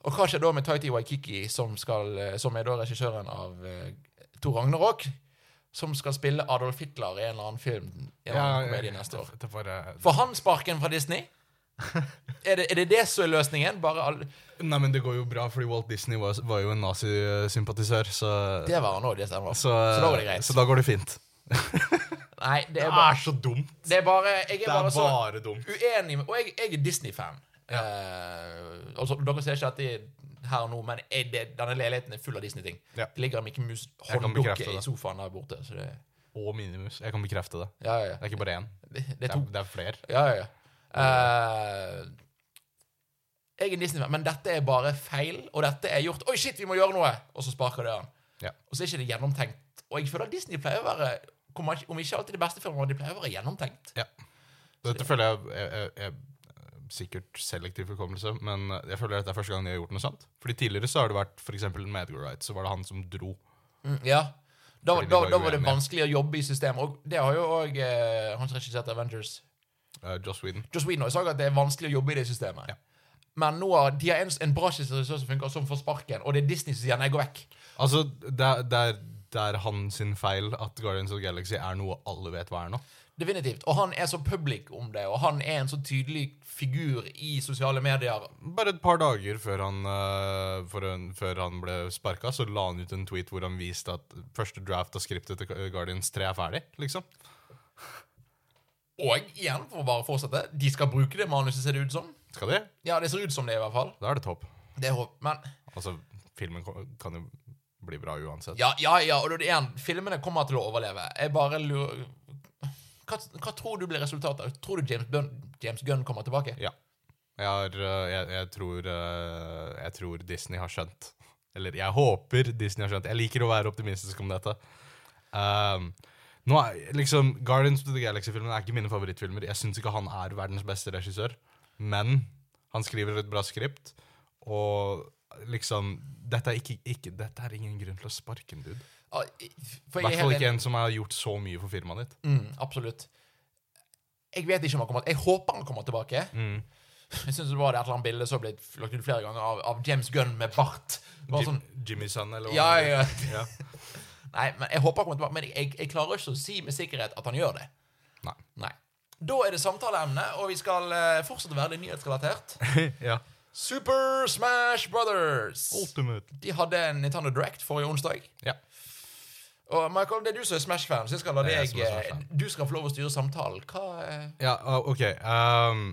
Speaker 1: Og hva skjer da med Taiti Waikiki, som, skal, eh, som er da regissøren av uh, Tor Ragnarok? Som skal spille Adolf Hitler i en eller annen film i en eller annen komedie neste år.
Speaker 2: Det var, eh,
Speaker 1: Får han sparken fra Disney? Er det er det, det som er løsningen? Bare all...
Speaker 2: Nei, men det går jo bra, fordi Walt Disney var, var jo en nazisympatisør, så
Speaker 1: Det var han òg, det stemmer.
Speaker 2: så,
Speaker 1: så da var det greit.
Speaker 2: Så da går det fint.
Speaker 1: Nei, det er bare,
Speaker 2: så dumt.
Speaker 1: det er bare Jeg er
Speaker 2: Det er
Speaker 1: bare så
Speaker 2: bare dumt.
Speaker 1: uenig med Og jeg, jeg er Disney-fan. Eh, altså, dere ser ikke at det er her og nå, men jeg, det, denne leiligheten er full av Disney-ting.
Speaker 2: Ja.
Speaker 1: Det ligger en Mickey Mouse
Speaker 2: kan
Speaker 1: hånddukke
Speaker 2: bekrefte
Speaker 1: i
Speaker 2: det.
Speaker 1: sofaen der borte. Så det,
Speaker 2: Og Minimus. Jeg kan bekrefte det.
Speaker 1: ja, ja,
Speaker 2: Det er ikke bare én.
Speaker 1: ja. Det, det er
Speaker 2: Det er,
Speaker 1: to.
Speaker 2: det er flere.
Speaker 1: Ja, ja, ja. Eh, jeg er Disney-fan, men dette er bare feil, og dette er gjort Oi, shit, vi må gjøre noe! Og så sparker det han.
Speaker 2: Ja.
Speaker 1: Og så er ikke det gjennomtenkt. Og jeg føler at Disney pleier å være kommer ikke- Om ikke alltid det beste filmen, men de pleier å være gjennomtenkt.
Speaker 2: Dette føler jeg jeg- jeg- jeg- Sikkert selektiv hukommelse, men jeg føler at det er første gang de har gjort noe sånt. Fordi Tidligere så har det vært for eksempel Madgo Right, så var det han som dro.
Speaker 1: Mm, ja. Da,
Speaker 2: Fordi de
Speaker 1: da,
Speaker 2: var
Speaker 1: da var det
Speaker 2: uenige.
Speaker 1: vanskelig å jobbe i systemet. Og det har jo òg eh, han som regisserte Avengers
Speaker 2: Uh, Joss Whedon.
Speaker 1: Joss Whedon har jo sagt at det er vanskelig å jobbe i det systemet.
Speaker 2: Ja.
Speaker 1: Men nå har de har en, en bra regissør som funker, som får sparken, og det er Disney som sier nei, gå vekk.
Speaker 2: Altså, det er, det, er, det er han sin feil at Guardians of the Galaxy er noe alle vet hva er nå.
Speaker 1: Definitivt. Og han er så public om det, og han er en så tydelig figur i sosiale medier.
Speaker 2: Bare et par dager før han, eh, for en, før han ble sparka, så la han ut en tweet hvor han viste at første draft av skriptet til Guardians 3 er ferdig. liksom.
Speaker 1: Og igjen, for å bare fortsette, de skal bruke det manuset, ser det ut som.
Speaker 2: Skal de?
Speaker 1: Ja, det ser ut som det, i hvert fall.
Speaker 2: Da er det topp.
Speaker 1: Det er håp. Men
Speaker 2: Altså, filmen ko- kan jo bli bra uansett.
Speaker 1: ja, ja, ja, og det er igjen, filmene kommer til å overleve. Jeg bare lurer hva, hva tror du blir resultatet? Tror du James, Bun James Gunn kommer tilbake?
Speaker 2: Jeg, har, eh, jeg, jeg, tror, eh, jeg tror Disney har skjønt. Eller jeg håper Disney har skjønt. Jeg liker å være optimistisk om dette. Um, nå er, liksom, Guardians of the Galaxy-filmen er ikke mine favorittfilmer. Jeg syns ikke han er verdens beste regissør. Men han skriver et bra skript, og liksom Dette er, ikke, ikke, dette er ingen grunn til å sparke en dude.
Speaker 1: Ja,
Speaker 2: I
Speaker 1: For jeg
Speaker 2: hvert
Speaker 1: er
Speaker 2: fall
Speaker 1: helt
Speaker 2: ikke
Speaker 1: enig.
Speaker 2: en som har gjort så mye for firmaet ditt.
Speaker 1: Mm, absolutt. Jeg vet ikke om han kommer Jeg håper han kommer tilbake.
Speaker 2: Mm.
Speaker 1: Jeg synes det var det et eller annet bilde som ble lagt ut flere ganger av, av James Gunn med bart. Bare sånn,
Speaker 2: Jim, Jimmy Sun, eller hva
Speaker 1: ja,
Speaker 2: han
Speaker 1: ja.
Speaker 2: heter. ja.
Speaker 1: Nei, men jeg håper han kommer tilbake, men jeg, jeg klarer ikke å si med sikkerhet at han gjør det.
Speaker 2: Nei.
Speaker 1: Da er det samtaleemne, og vi skal eh, fortsette å være litt nyhetsrelatert. (laughs)
Speaker 2: ja.
Speaker 1: Super Smash Brothers!
Speaker 2: Oh. Ultimate.
Speaker 1: De hadde en Nintendo Direct forrige onsdag.
Speaker 2: Ja.
Speaker 1: Og Michael, det er du som er Smash-fan, så jeg skal la
Speaker 2: Det er jeg
Speaker 1: deg
Speaker 2: som er
Speaker 1: eh,
Speaker 2: Smash-fan.
Speaker 1: Du skal få lov å styre samtalen. Hva eh,
Speaker 2: Ja, ah, ok. ehm,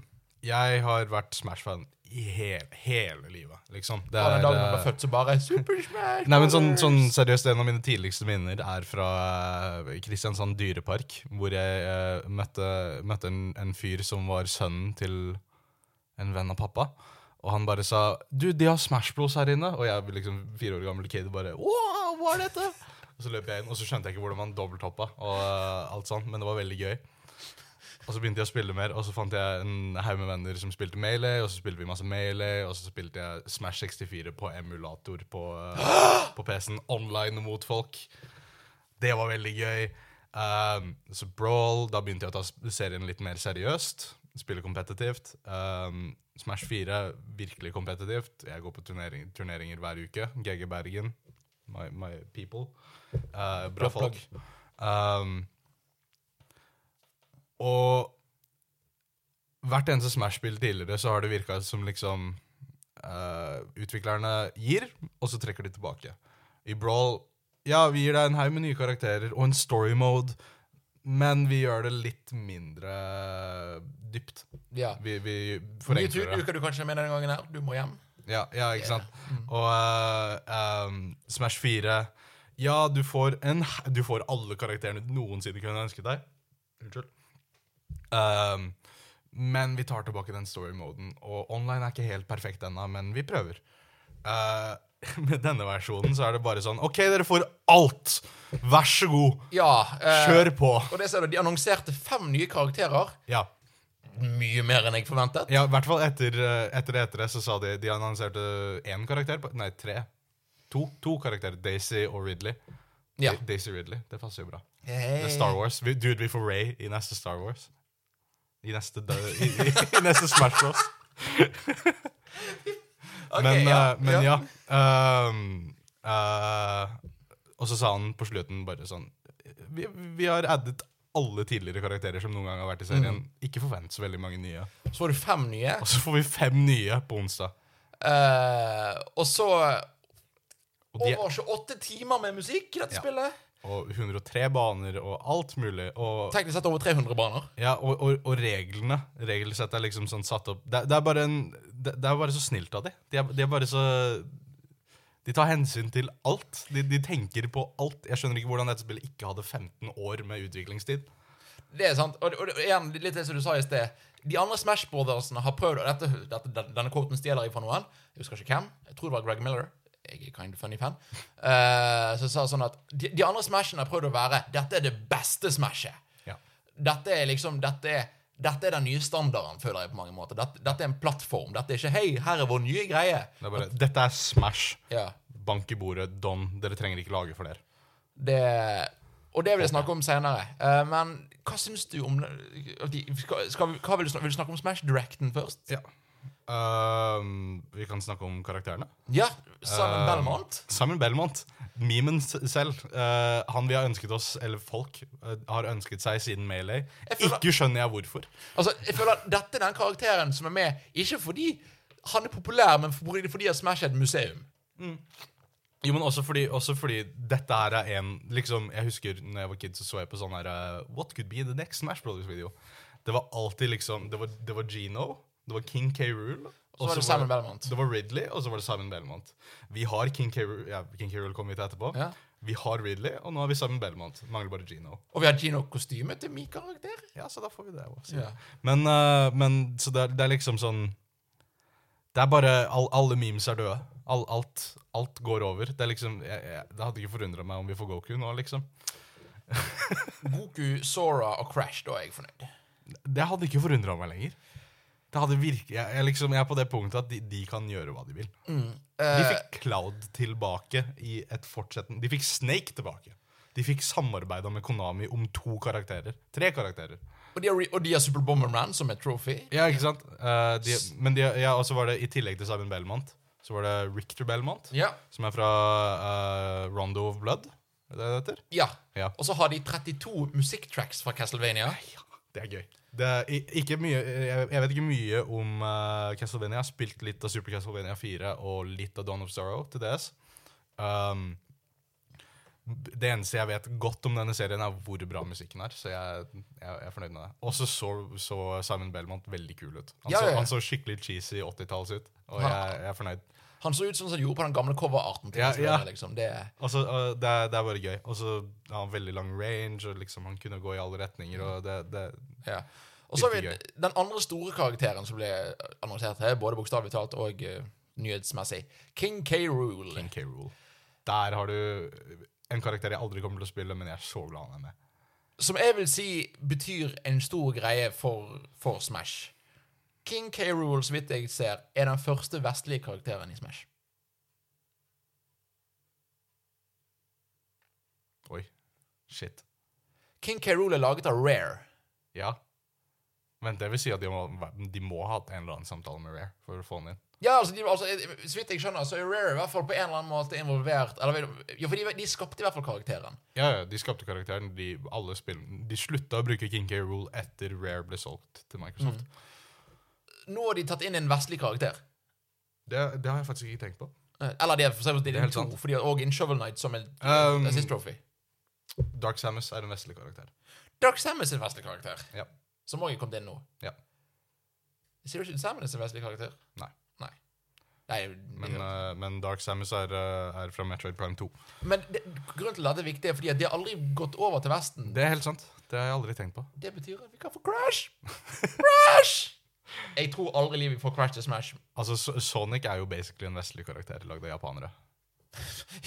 Speaker 2: jeg har vært Smash-fan i he hele livet, liksom. Det
Speaker 1: Fra den dagen han
Speaker 2: eh,
Speaker 1: ble født, så bare Super Smash Brothers!
Speaker 2: Nei, men sånn, sånn seriøst, En av mine tidligste minner er fra eh, Kristiansand dyrepark, hvor jeg eh, møtte, møtte en, en fyr som var sønnen til en venn av pappa. Og han bare sa 'Du, de har Smash Bros her inne.' Og jeg, liksom fire år gammel kid, bare 'Wow, hva er dette?' Og så løp jeg inn, og så skjønte jeg ikke hvordan man dobbelthoppa, og eh, alt sånt, men det var veldig gøy. Og så begynte jeg å spille mer, og så fant jeg en haug med venner som spilte Melee, og så spilte vi masse Melee, og så spilte jeg Smash 64 på emulator på, eh, på PC-en, online mot folk. Det var veldig gøy. Um, så Brawl, da begynte jeg å ta s- serien litt mer seriøst, spille kompetitivt. Um, Smash 4, virkelig kompetitivt. Jeg går på turnering, turneringer hver uke. GG Bergen, my, my people. Uh, bra
Speaker 1: Bra plugg.
Speaker 2: folk. Um, og hvert eneste Smash-spill tidligere så har det virka som liksom eh, utviklerne gir, og så trekker de tilbake. I Brawl ja, vi gir deg en haug med nye karakterer og en story mode, men vi gjør det litt mindre dypt.
Speaker 1: Ja.
Speaker 2: Vi, vi
Speaker 1: Mye
Speaker 2: forenkler det.
Speaker 1: uker du kanskje er med denne gangen her. Du må hjem.
Speaker 2: Ja, ja Mm. ikke sant? Og eh, um, Smash 4 Ja, du får, en, h- du får alle karakterene du noensinne kunne ønsket deg. Unnskyld. Um, men vi tar tilbake den story-moden, og online er ikke helt perfekt ennå, men vi prøver. Eh, (laughs) med denne versjonen så er det bare sånn OK, dere får alt! Vær så god,
Speaker 1: Ja. eh,
Speaker 2: kjør på!
Speaker 1: Og det ser du, de annonserte fem nye karakterer.
Speaker 2: Ja.
Speaker 1: Mye mer enn jeg forventet.
Speaker 2: Ja, I hvert fall etter, eh, etter det etter det så sa de De annonserte én karakter på- Nei, tre. To, to karakterer. Daisy og Ridley.
Speaker 1: Ja. Eh.
Speaker 2: Da- Daisy Ridley. Det passer jo bra. Det er
Speaker 1: Hey.
Speaker 2: Star Wars. Vi, dude, vi får Ray i neste Star Wars. I neste, dø- i, i, i neste Smash Bros.
Speaker 1: (laughs) Ok,
Speaker 2: men,
Speaker 1: ja,
Speaker 2: eh, men ja. ehm, eh, og så sa han på slutten bare sånn Vi, vi har addet alle tidligere karakterer som noen gang har vært i serien.
Speaker 1: Mm.
Speaker 2: Ikke forvent så veldig mange nye.
Speaker 1: Så får du fem nye.
Speaker 2: Og så får vi fem nye på onsdag.
Speaker 1: eh, og så
Speaker 2: Og de,
Speaker 1: over 28 timer med musikk i dette
Speaker 2: Ja.
Speaker 1: spillet.
Speaker 2: og 103 baner og alt mulig. Og,
Speaker 1: Teknisk sett over 300 baner.
Speaker 2: ja, og, og, og reglene. Regelsett er liksom sånn satt opp Det, det, er, bare en, det, det er bare så snilt av de. De er, de er bare så De tar hensyn til alt. De, de tenker på alt. Jeg skjønner ikke hvordan dette spillet ikke hadde 15 år med utviklingstid.
Speaker 1: Det er sant. Og, og, og igjen, litt det som du sa i sted. De andre Smash Brothersene har prøvd Og dette, dette, den- denne quoten stjeler jeg fra noen. Jeg husker ikke hvem. Jeg tror det var Greg Miller. Jeg er kind of funny fan. Eh, som sa sånn at de, de andre Smashene har prøvd å være Dette er det beste Smashet.
Speaker 2: Ja.
Speaker 1: Dette er liksom Dette er, dette er den nye standarden, føler jeg på mange måter. Dette, dette er en plattform. Dette er ikke 'Hei, her er vår nye greie'.
Speaker 2: Det er bare, dette er Smash.
Speaker 1: Ja.
Speaker 2: Bank i bordet, don. Dere trenger ikke lage flere.
Speaker 1: Det Og det vil jeg snakke om senere. Eh, men hva syns du om at de, skal, skal, vi- hva vil, du snakke, vil du snakke om Smash Directen først?
Speaker 2: Ja. Ehm, vi kan snakke om karakterene.
Speaker 1: Ja, Simon
Speaker 2: Eh,
Speaker 1: Belmont.
Speaker 2: Simon Belmont, memen s- selv, eh, han vi har ønsket oss, eller folk, eh, har ønsket seg siden Melee.
Speaker 1: Jeg føler-
Speaker 2: Ikke skjønner jeg hvorfor.
Speaker 1: Altså, jeg føler at Dette er den karakteren som er med, ikke fordi han er populær, men fordi, fordi at Smash er et museum.
Speaker 2: Jo, men også fordi, også fordi dette her er en liksom, Jeg husker når jeg var kid, så så jeg på sånn her eh, What could be the next Smash Brothers-video? Det var alltid liksom Det var, det var Gino, det var King K. Rool.
Speaker 1: Så var det Simon Belmont.
Speaker 2: Det var Ridley, og så var det Simon Belmont. Vi har King K. Rool, ja, King K. Rool kommer vi til etterpå.
Speaker 1: Ja.
Speaker 2: Vi har Ridley, og nå har vi Simon Belmont. Mangler bare Gino.
Speaker 1: Og vi har Gino-kostyme til min karakter.
Speaker 2: Ja, så da får vi det også.
Speaker 1: Ja.
Speaker 2: Men, eh, men så det er, det er liksom sånn Det er bare all, Alle memes er døde. All, alt, alt går over. Det er liksom jeg, jeg, Det hadde ikke forundra meg om vi får Goku nå, liksom.
Speaker 1: Goku, Sora og Crash, da er jeg fornøyd.
Speaker 2: Det hadde ikke forundra meg lenger. Det hadde virke, jeg, jeg, liksom, jeg er på det punktet at de, de kan gjøre hva de vil. de fikk Cloud tilbake i et fortsettende De fikk Snake tilbake. De fikk samarbeida med Konami om to karakterer. Tre karakterer.
Speaker 1: Og de har, re- og de har Super Bomberman som et trophy.
Speaker 2: Ja, ikke sant? Eh, de, men de, ja, og så var det i tillegg til Simon Belmont, så var det Richter Belmont,
Speaker 1: Ja.
Speaker 2: som er fra eh, Rondo of Blood. Er det det heter?
Speaker 1: ja.
Speaker 2: Ja.
Speaker 1: Og så har de 32 musikktracks fra Castlevania.
Speaker 2: Det er gøy. Det er i- ikke mye, jeg, jeg vet ikke mye om eh, Castlevania. Jeg har spilt litt av Super Castlevania 4 og litt av Dawn of Sorrow til DS. Um, det eneste jeg vet godt om denne serien, er hvor bra musikken er. Så jeg, jeg, jeg er fornøyd med det. Og så så Simon Belmont veldig kul ut. Han,
Speaker 1: Ja, ja,
Speaker 2: Så,
Speaker 1: ja.
Speaker 2: han så skikkelig cheesy 80-talls ut, og
Speaker 1: Han-
Speaker 2: jeg, jeg er fornøyd.
Speaker 1: Han så ut sånn som han gjorde på den gamle coverarten. til
Speaker 2: Ja,
Speaker 1: Castlevania,
Speaker 2: ja.
Speaker 1: Liksom. Det er
Speaker 2: Altså, øh, det, er, det er bare gøy. Og så har han veldig lang range, og liksom han kunne gå i alle retninger. Og det, det,
Speaker 1: Ja. Og så har vi
Speaker 2: Virkelig
Speaker 1: den andre store karakteren som ble annonsert her, både bokstavelig talt og eh, nyhetsmessig. King K. Rule.
Speaker 2: NK Rule. Der har du en karakter jeg aldri kommer til å spille, men jeg er så glad han er med.
Speaker 1: Som jeg vil si betyr en stor greie for, for Smash. King K. Rule, så vidt jeg ser, er den første vestlige karakteren i Smash.
Speaker 2: Oi. Shit.
Speaker 1: King K. Rule er laget av Rare.
Speaker 2: Ja. Men det vil si at de må, de må ha hatt en eller annen samtale med Rare for å få han inn.
Speaker 1: Ja, altså, de, altså eh, Så vidt jeg skjønner, så er Rare i hvert fall på en eller annen måte involvert. Eller, ja, for de, de skapte i hvert fall karakteren.
Speaker 2: Ja, ja, de skapte karakteren. De, alle spill, de slutta å bruke King K. Rule etter Rare ble solgt til Microsoft.
Speaker 1: Nå har de tatt inn en vestlig karakter.
Speaker 2: Det, det har jeg faktisk ikke tenkt på.
Speaker 1: Eh, Eller det er for eksempel
Speaker 2: er
Speaker 1: Dealing
Speaker 2: helt
Speaker 1: 2,
Speaker 2: sant.
Speaker 1: for de har òg en Shovel Knight som en
Speaker 2: Um,
Speaker 1: assist trophy.
Speaker 2: Dark Samus er en vestlig karakter.
Speaker 1: Dark Samus er en vestlig karakter,
Speaker 2: Ja.
Speaker 1: som òg er kommet inn nå.
Speaker 2: Ja.
Speaker 1: Sier du ikke Samus er en vestlig karakter?
Speaker 2: Nei.
Speaker 1: Nei, Nei
Speaker 2: Men,
Speaker 1: men,
Speaker 2: eh, men Dark Samus er, eh, er fra Metroid Prime 2.
Speaker 1: men det, grunnen til at det er viktig, er fordi at de har aldri gått over til Vesten.
Speaker 2: Det er helt sant. Det har jeg aldri tenkt på.
Speaker 1: Det betyr at vi kan få Crash! Crash! Jeg tror aldri i livet vi får Crash til Smash. (laughs)
Speaker 2: Altså, So- Sonic er jo basically en vestlig karakter lagd av japanere.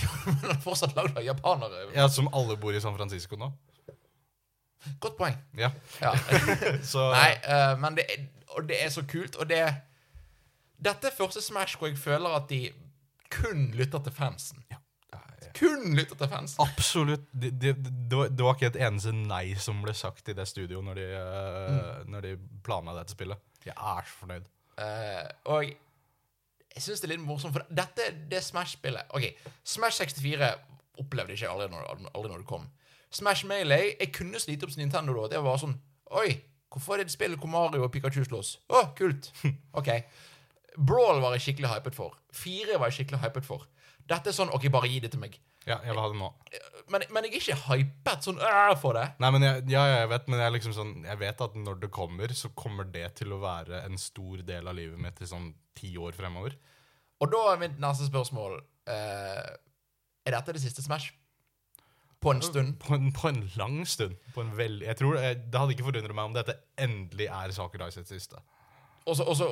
Speaker 1: Jo, Men han er fortsatt lagd av japanere.
Speaker 2: Ja, Som alle bor i San Francisco nå.
Speaker 1: Godt poeng.
Speaker 2: Ja, (laughs)
Speaker 1: Ja.
Speaker 2: så
Speaker 1: Nei, eh, men det er, og det er så kult, og det Dette er første Smash hvor jeg føler at de kun lytter til fansen.
Speaker 2: Nei,
Speaker 1: Kun lytter til fansen.
Speaker 2: Absolutt. Det, det, det, var, det var ikke et eneste nei som ble sagt i det studioet når de, eh, når de planla dette spillet. Jeg er så fornøyd.
Speaker 1: Eh, og jeg syns det er litt morsomt, for dette er det Smash-spillet OK, Smash 64 opplevde jeg ikke aldri når, aldri når det kom. Smash Melee Jeg kunne slite opp som Nintendo da. Det var sånn Oi, hvorfor er det et spill hvor Mario og Pikachu slåss? Å, kult. OK. Brawl var jeg skikkelig hypet for. Fire var jeg skikkelig hypet for. Dette er sånn OK, bare gi det til meg.
Speaker 2: Ja, jeg vil ha det nå.
Speaker 1: Men, men jeg er ikke hypet sånn «Åh», for det.
Speaker 2: Nei, men jeg, ja, ja, jeg vet, men jeg er liksom sånn Jeg vet at når det kommer, så kommer det til å være en stor del av livet mitt i sånn ti år fremover.
Speaker 1: Og da er mitt neste spørsmål eh, Er dette det siste Smash? På en stund?
Speaker 2: På en, på en lang stund. På en vel, jeg tror, jeg, det hadde ikke forundret meg om dette endelig er Sakurai sitt siste.
Speaker 1: Og, så, og, så,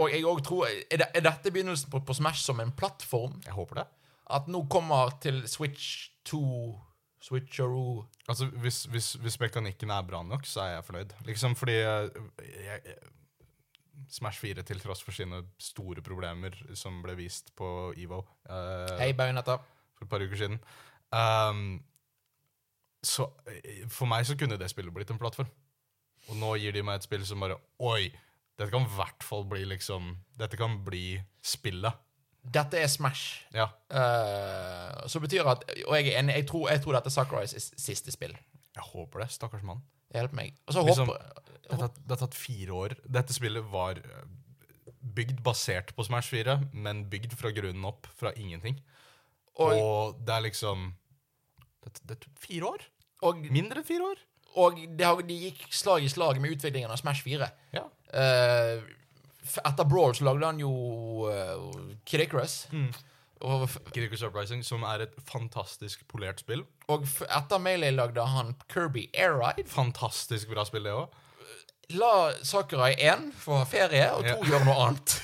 Speaker 1: og jeg òg tror er, det, er dette begynnelsen på, på Smash som en plattform?
Speaker 2: Jeg håper det.
Speaker 1: At nå kommer til Switch 2 Switcheroo
Speaker 2: Altså, hvis, hvis, hvis mekanikken er bra nok, så er jeg fornøyd. Liksom fordi eh, jeg, jeg, Smash 4, til tross for sine store problemer som ble vist på EVO eh,
Speaker 1: Hei, Bajonetta.
Speaker 2: for et par uker siden ehm, Så eh, for meg så kunne det spillet blitt en plattform. Og nå gir de meg et spill som bare Oi! Dette kan i hvert fall bli liksom Dette kan bli spillet.
Speaker 1: Dette er Smash.
Speaker 2: Ja.
Speaker 1: Eh, så betyr at Og jeg er enig, jeg tror, jeg tror dette er Sakurais siste spill.
Speaker 2: Jeg håper det, stakkars mann.
Speaker 1: Hjelp meg. Og så
Speaker 2: Liksom-
Speaker 1: håper
Speaker 2: Det har, tatt, det har tatt fire år. Dette spillet var eh, bygd basert på Smash 4, men bygd fra grunnen opp, fra ingenting. Og,
Speaker 1: Og,
Speaker 2: det er liksom det, det tok fire år?
Speaker 1: og,
Speaker 2: Mindre enn fire år?
Speaker 1: og det har, de gikk slag i slag med utviklingen av Smash 4.
Speaker 2: Ja.
Speaker 1: Eh, f- etter Brawl så lagde han jo uh, Kid Icarus.
Speaker 2: Mm.
Speaker 1: Og, f-
Speaker 2: Kid Icarus Uprising, som er et fantastisk polert spill.
Speaker 1: og f etter Melee lagde han Kirby Air Ride.
Speaker 2: Fantastisk bra spill, det òg.
Speaker 1: La Sakurai én få ha ferie, og to
Speaker 2: Ja.
Speaker 1: gjøre noe annet.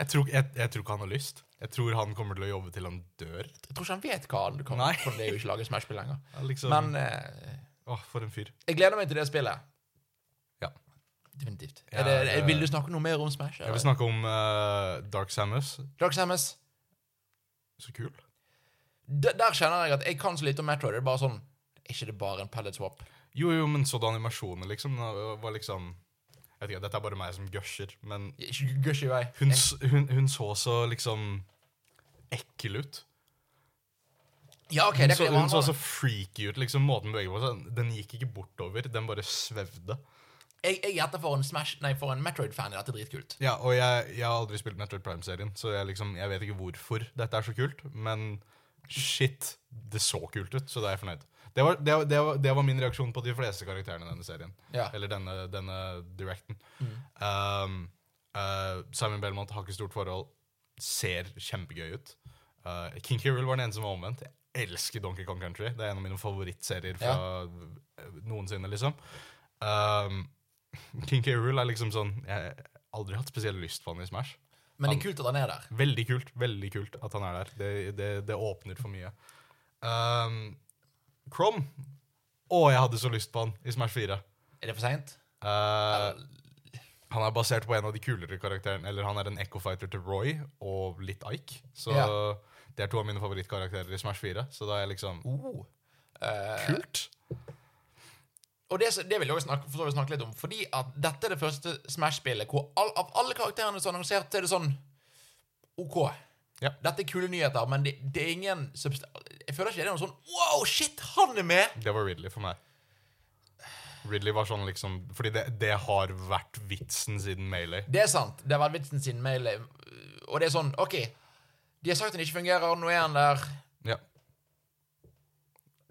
Speaker 2: Jeg, tror- jeg, jeg tror ikke han har lyst. Jeg tror han kommer til å jobbe til han dør.
Speaker 1: Jeg tror ikke han vet hva han kan,
Speaker 2: Nei.
Speaker 1: for det er jo ikke laget Smash-spill lenger.
Speaker 2: Ja, Liksom,
Speaker 1: Men eh,
Speaker 2: Åh, for en fyr.
Speaker 1: jeg gleder meg til det spillet.
Speaker 2: Ja.
Speaker 1: Definitivt. Er
Speaker 2: Ja,
Speaker 1: det,
Speaker 2: det-
Speaker 1: vil du snakke noe mer om Smash?
Speaker 2: Jeg vil
Speaker 1: eller?
Speaker 2: snakke om eh, Dark Samus.
Speaker 1: Dark Samus,
Speaker 2: Så kul.
Speaker 1: d- der kjenner jeg at jeg kan så lite om Metroid. Det er bare sånn Er ikke det bare en pellet swap?
Speaker 2: Jo, jo, men så du animasjoner, liksom? Det var liksom Jeg vet ikke, Dette er bare meg som gusher, men
Speaker 1: Ikke gush i vei.
Speaker 2: hun,
Speaker 1: Jeg-
Speaker 2: s- hun, hun så så liksom ekkel ut.
Speaker 1: Ja, ok,
Speaker 2: Hun
Speaker 1: det
Speaker 2: så,
Speaker 1: kan jeg
Speaker 2: hun så
Speaker 1: være
Speaker 2: så freaky ut, liksom måten hun beveget på seg Den gikk ikke bortover, den bare svevde.
Speaker 1: Jeg jeg gjetter for en Smash Nei, for en Metroid-fan er dette dritkult.
Speaker 2: Ja, og jeg, jeg har aldri spilt Metroid Prime-serien, så jeg, liksom, jeg vet ikke hvorfor dette er så kult, men shit, det så kult ut, så da er jeg fornøyd. Det var, det, var- det var, det var min reaksjon på de fleste karakterene i denne serien.
Speaker 1: Ja.
Speaker 2: Eller denne, denne directen. Um, uh, Simon Belmont har ikke stort forhold. Ser kjempegøy ut. Uh, King Kirill var den ene som var omvendt. Jeg elsker Donkey Kong Country. Det er en av mine favorittserier fra eh, noensinne, liksom. Um, (laughs) King Kirill er liksom sånn Jeg har aldri hatt spesiell lyst på han i Smash.
Speaker 1: Men det er kult at han er der.
Speaker 2: Veldig kult veldig kult at han er der. Det, det, det åpner for mye. Um, Crom Å, jeg hadde så lyst på han i Smash 4.
Speaker 1: Er det for seint?
Speaker 2: Eh, han er basert på en av de kulere karakterene Eller han er en echo-fighter til Roy og litt Ike. Så
Speaker 1: Ja.
Speaker 2: det er to av mine favorittkarakterer i Smash 4. Så da er jeg liksom eh,
Speaker 1: Oh.
Speaker 2: Kult!
Speaker 1: Og det, det vil jeg også snakke, for så vidt snakke litt om, fordi at dette er det første Smash-spillet hvor all, av alle karakterene som er annonsert, så er det sånn OK.
Speaker 2: Ja.
Speaker 1: Dette er kule nyheter, men det, det er ingen subst Jeg føler ikke det er noe sånn Wow, shit, han er med!
Speaker 2: Det var Ridley for meg. Ridley var sånn liksom Fordi det, det har vært vitsen siden Melee.
Speaker 1: Det er sant. Det har vært vitsen sin mail. Og det er sånn, OK, de har sagt den ikke fungerer, nå er han der.
Speaker 2: Ja.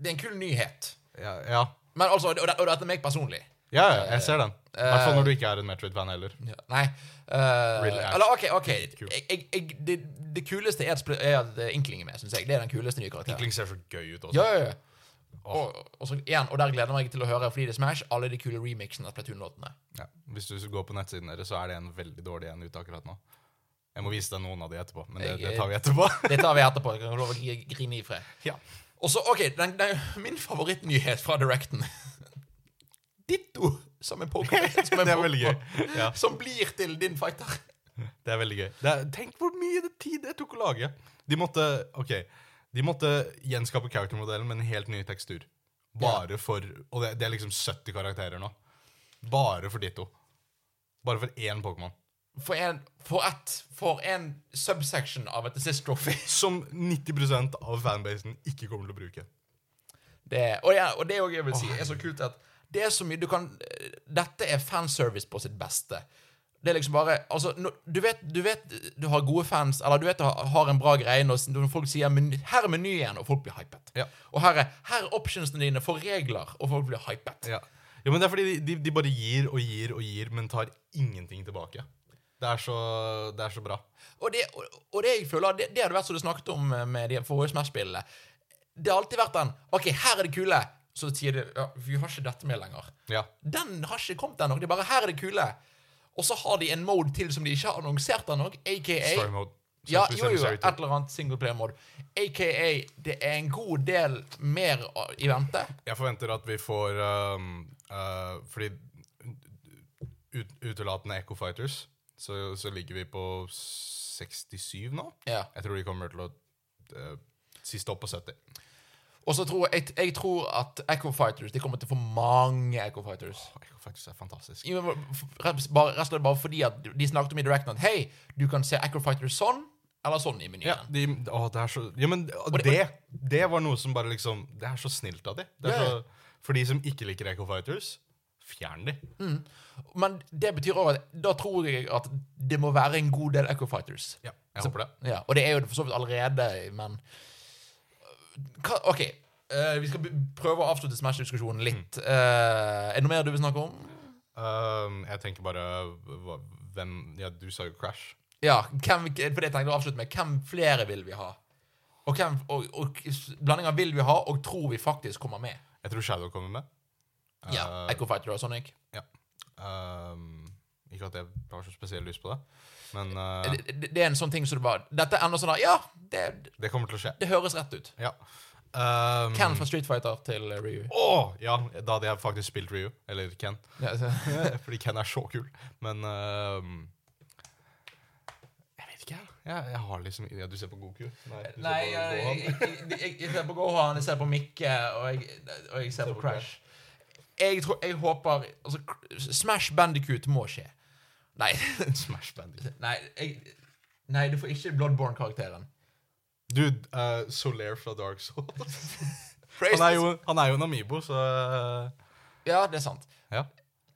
Speaker 1: Det er en kul nyhet.
Speaker 2: Ja, ja.
Speaker 1: Men altså, og, det, og dette er meg personlig.
Speaker 2: ja, ja jeg ser den. I hvert fall når du ikke er en Metroid-fan heller.
Speaker 1: Ja, Nei. eh,
Speaker 2: Really ass.
Speaker 1: eller OK, ok
Speaker 2: Kul.
Speaker 1: jeg, jeg, jeg, det, det kuleste er at, spl- er at Inkling er med, syns jeg. Det er den kuleste nye karakteren.
Speaker 2: Inkling ser så gøy ut også.
Speaker 1: Ja, ja, ja. Og, og, så, igjen, og der gleder jeg meg til å høre fordi det er Smash, alle de kule remixene av Platoon-låtene.
Speaker 2: Ja. Hvis du går på nettsiden deres, så er det en veldig dårlig en ute akkurat nå. Jeg må vise deg noen av de etterpå, men det,
Speaker 1: Jeg-
Speaker 2: det tar vi etterpå.
Speaker 1: Det tar vi etterpå. Jeg kan love å gri- grine i fred.
Speaker 2: ja.
Speaker 1: Og så, OK, den, den, min favorittnyhet fra Directen. (laughs) Ditto som en
Speaker 2: (laughs)
Speaker 1: poker. Som, en
Speaker 2: Det er
Speaker 1: Pokémon
Speaker 2: veldig gøy. Ja,
Speaker 1: som blir til din fighter.
Speaker 2: det er veldig gøy. Det er, tenk hvor mye det- tid det tok å lage. De måtte, ok, de måtte gjenskape character-modellen med en helt ny tekstur. Bare for, og det, det er liksom 70 karakterer nå. Bare for de to. Bare for én Pokémon.
Speaker 1: For en, for ett, for en subsection av et assist trophy.
Speaker 2: Som 90 av fanbasen ikke kommer til å bruke.
Speaker 1: Det, og, ja, og det er også jeg vil si, er så kult at det er så mye du kan Dette er fanservice på sitt beste. Det er liksom bare Altså, nå- du vet du, vet, du har gode fans, eller du vet du har, har en bra greie når s- når folk sier men, 'Her er menyen', og folk blir hypet.
Speaker 2: Ja.
Speaker 1: Og her er, her er optionsene dine for regler, og folk blir hypet.
Speaker 2: Ja. ja, men det er fordi de, de, de bare gir og gir og gir, men tar ingenting tilbake. Det er så, det er så bra.
Speaker 1: Og det, og, og det jeg føler, det, det hadde vært som du snakket om eh, med de forrige Smash-spillene. Det har alltid vært den 'OK, her er det kule', så sier de ja, 'Vi har ikke dette med lenger'.
Speaker 2: Ja.
Speaker 1: Den har ikke kommet ennå. Det er bare her er det kule. Og så har de en mode til som de ikke har annonsert ennå, aka
Speaker 2: Story mode.
Speaker 1: ja,
Speaker 2: Sensory
Speaker 1: jo, jo,
Speaker 2: Sensory
Speaker 1: et
Speaker 2: 2.
Speaker 1: eller annet singleplayer-mode. Aka det er en god del mer å- i vente.
Speaker 2: Jeg forventer at vi får um, uh, Fordi ut, utelatende Echo Fighters, så, så ligger vi på 67 nå.
Speaker 1: Ja.
Speaker 2: Jeg tror de kommer til å uh, siste opp på 70.
Speaker 1: Og så tror jeg, jeg tror at Echo Fighters De kommer til å få mange Echo Fighters.
Speaker 2: Åh, Echo Fighters er fantastisk.
Speaker 1: I- rett- Bare, rett og slett bare fordi at de snakket om i Directen at hei, du kan se Echo Fighters sånn eller sånn i menyen.
Speaker 2: Ja, de, å, det er så Ja, men
Speaker 1: det-
Speaker 2: det, det var noe som bare liksom Det er så snilt av de. Det er
Speaker 1: Ja, ja.
Speaker 2: så, for de som ikke liker Echo Fighters, fjern de.
Speaker 1: Mm. Men det betyr òg at da tror jeg at det må være en god del Echo Fighters.
Speaker 2: Ja, jeg håper det.
Speaker 1: Ja, og det er jo det for så vidt allerede, men Hva, OK. eh, vi skal be- prøve å avslutte Smash-diskusjonen litt. Eh, er det noe mer du vil snakke om?
Speaker 2: Ehm, jeg tenker bare hva- Hvem Ja, du sa jo Crash.
Speaker 1: Ja, hvem, for det tenkte jeg å avslutte med. Hvem flere vil vi ha? Og, hvem, og, og s- blanding av vil vi ha, og tror vi faktisk kommer med.
Speaker 2: Jeg tror Shadow kommer med.
Speaker 1: Ja,
Speaker 2: Eh,
Speaker 1: Echo Fighter og Sonic.
Speaker 2: ja. Ehm, ikke at jeg har så spesielt lyst på det, men eh,
Speaker 1: Det, det, det er en sånn ting som du bare Dette er enda sånn der Ja, det,
Speaker 2: det kommer til å skje.
Speaker 1: det høres rett ut.
Speaker 2: Ja. Ehm,
Speaker 1: Ken fra Street Fighter til eh, Ryu.
Speaker 2: Åh, ja, da hadde jeg faktisk spilt Ryu. Eller Ken.
Speaker 1: Ja, så-
Speaker 2: (laughs) Fordi Ken er så kul. Men øhm, Jeg vet ikke, jeg. Jeg, jeg har liksom ja, Du ser på Goku? Nei. Du
Speaker 1: Nei,
Speaker 2: ser på
Speaker 1: jeg,
Speaker 2: Gohan.
Speaker 1: jeg, jeg, jeg, jeg ser på Gohan, jeg ser på Mikke, og jeg, og jeg ser på Crash. Jeg tror, jeg håper altså, Cr- Smash Bandicoot må skje. Nei,
Speaker 2: (laughs) Smash Bandicoot.
Speaker 1: nei, jeg, nei du får ikke Bloodborne-karakteren.
Speaker 2: Dude, uh, Solaire fra Dark
Speaker 1: (laughs)
Speaker 2: Souls.
Speaker 1: Han
Speaker 2: Han er jo, han er jo en amibo, så eh,
Speaker 1: Ja, det er sant.
Speaker 2: Ja.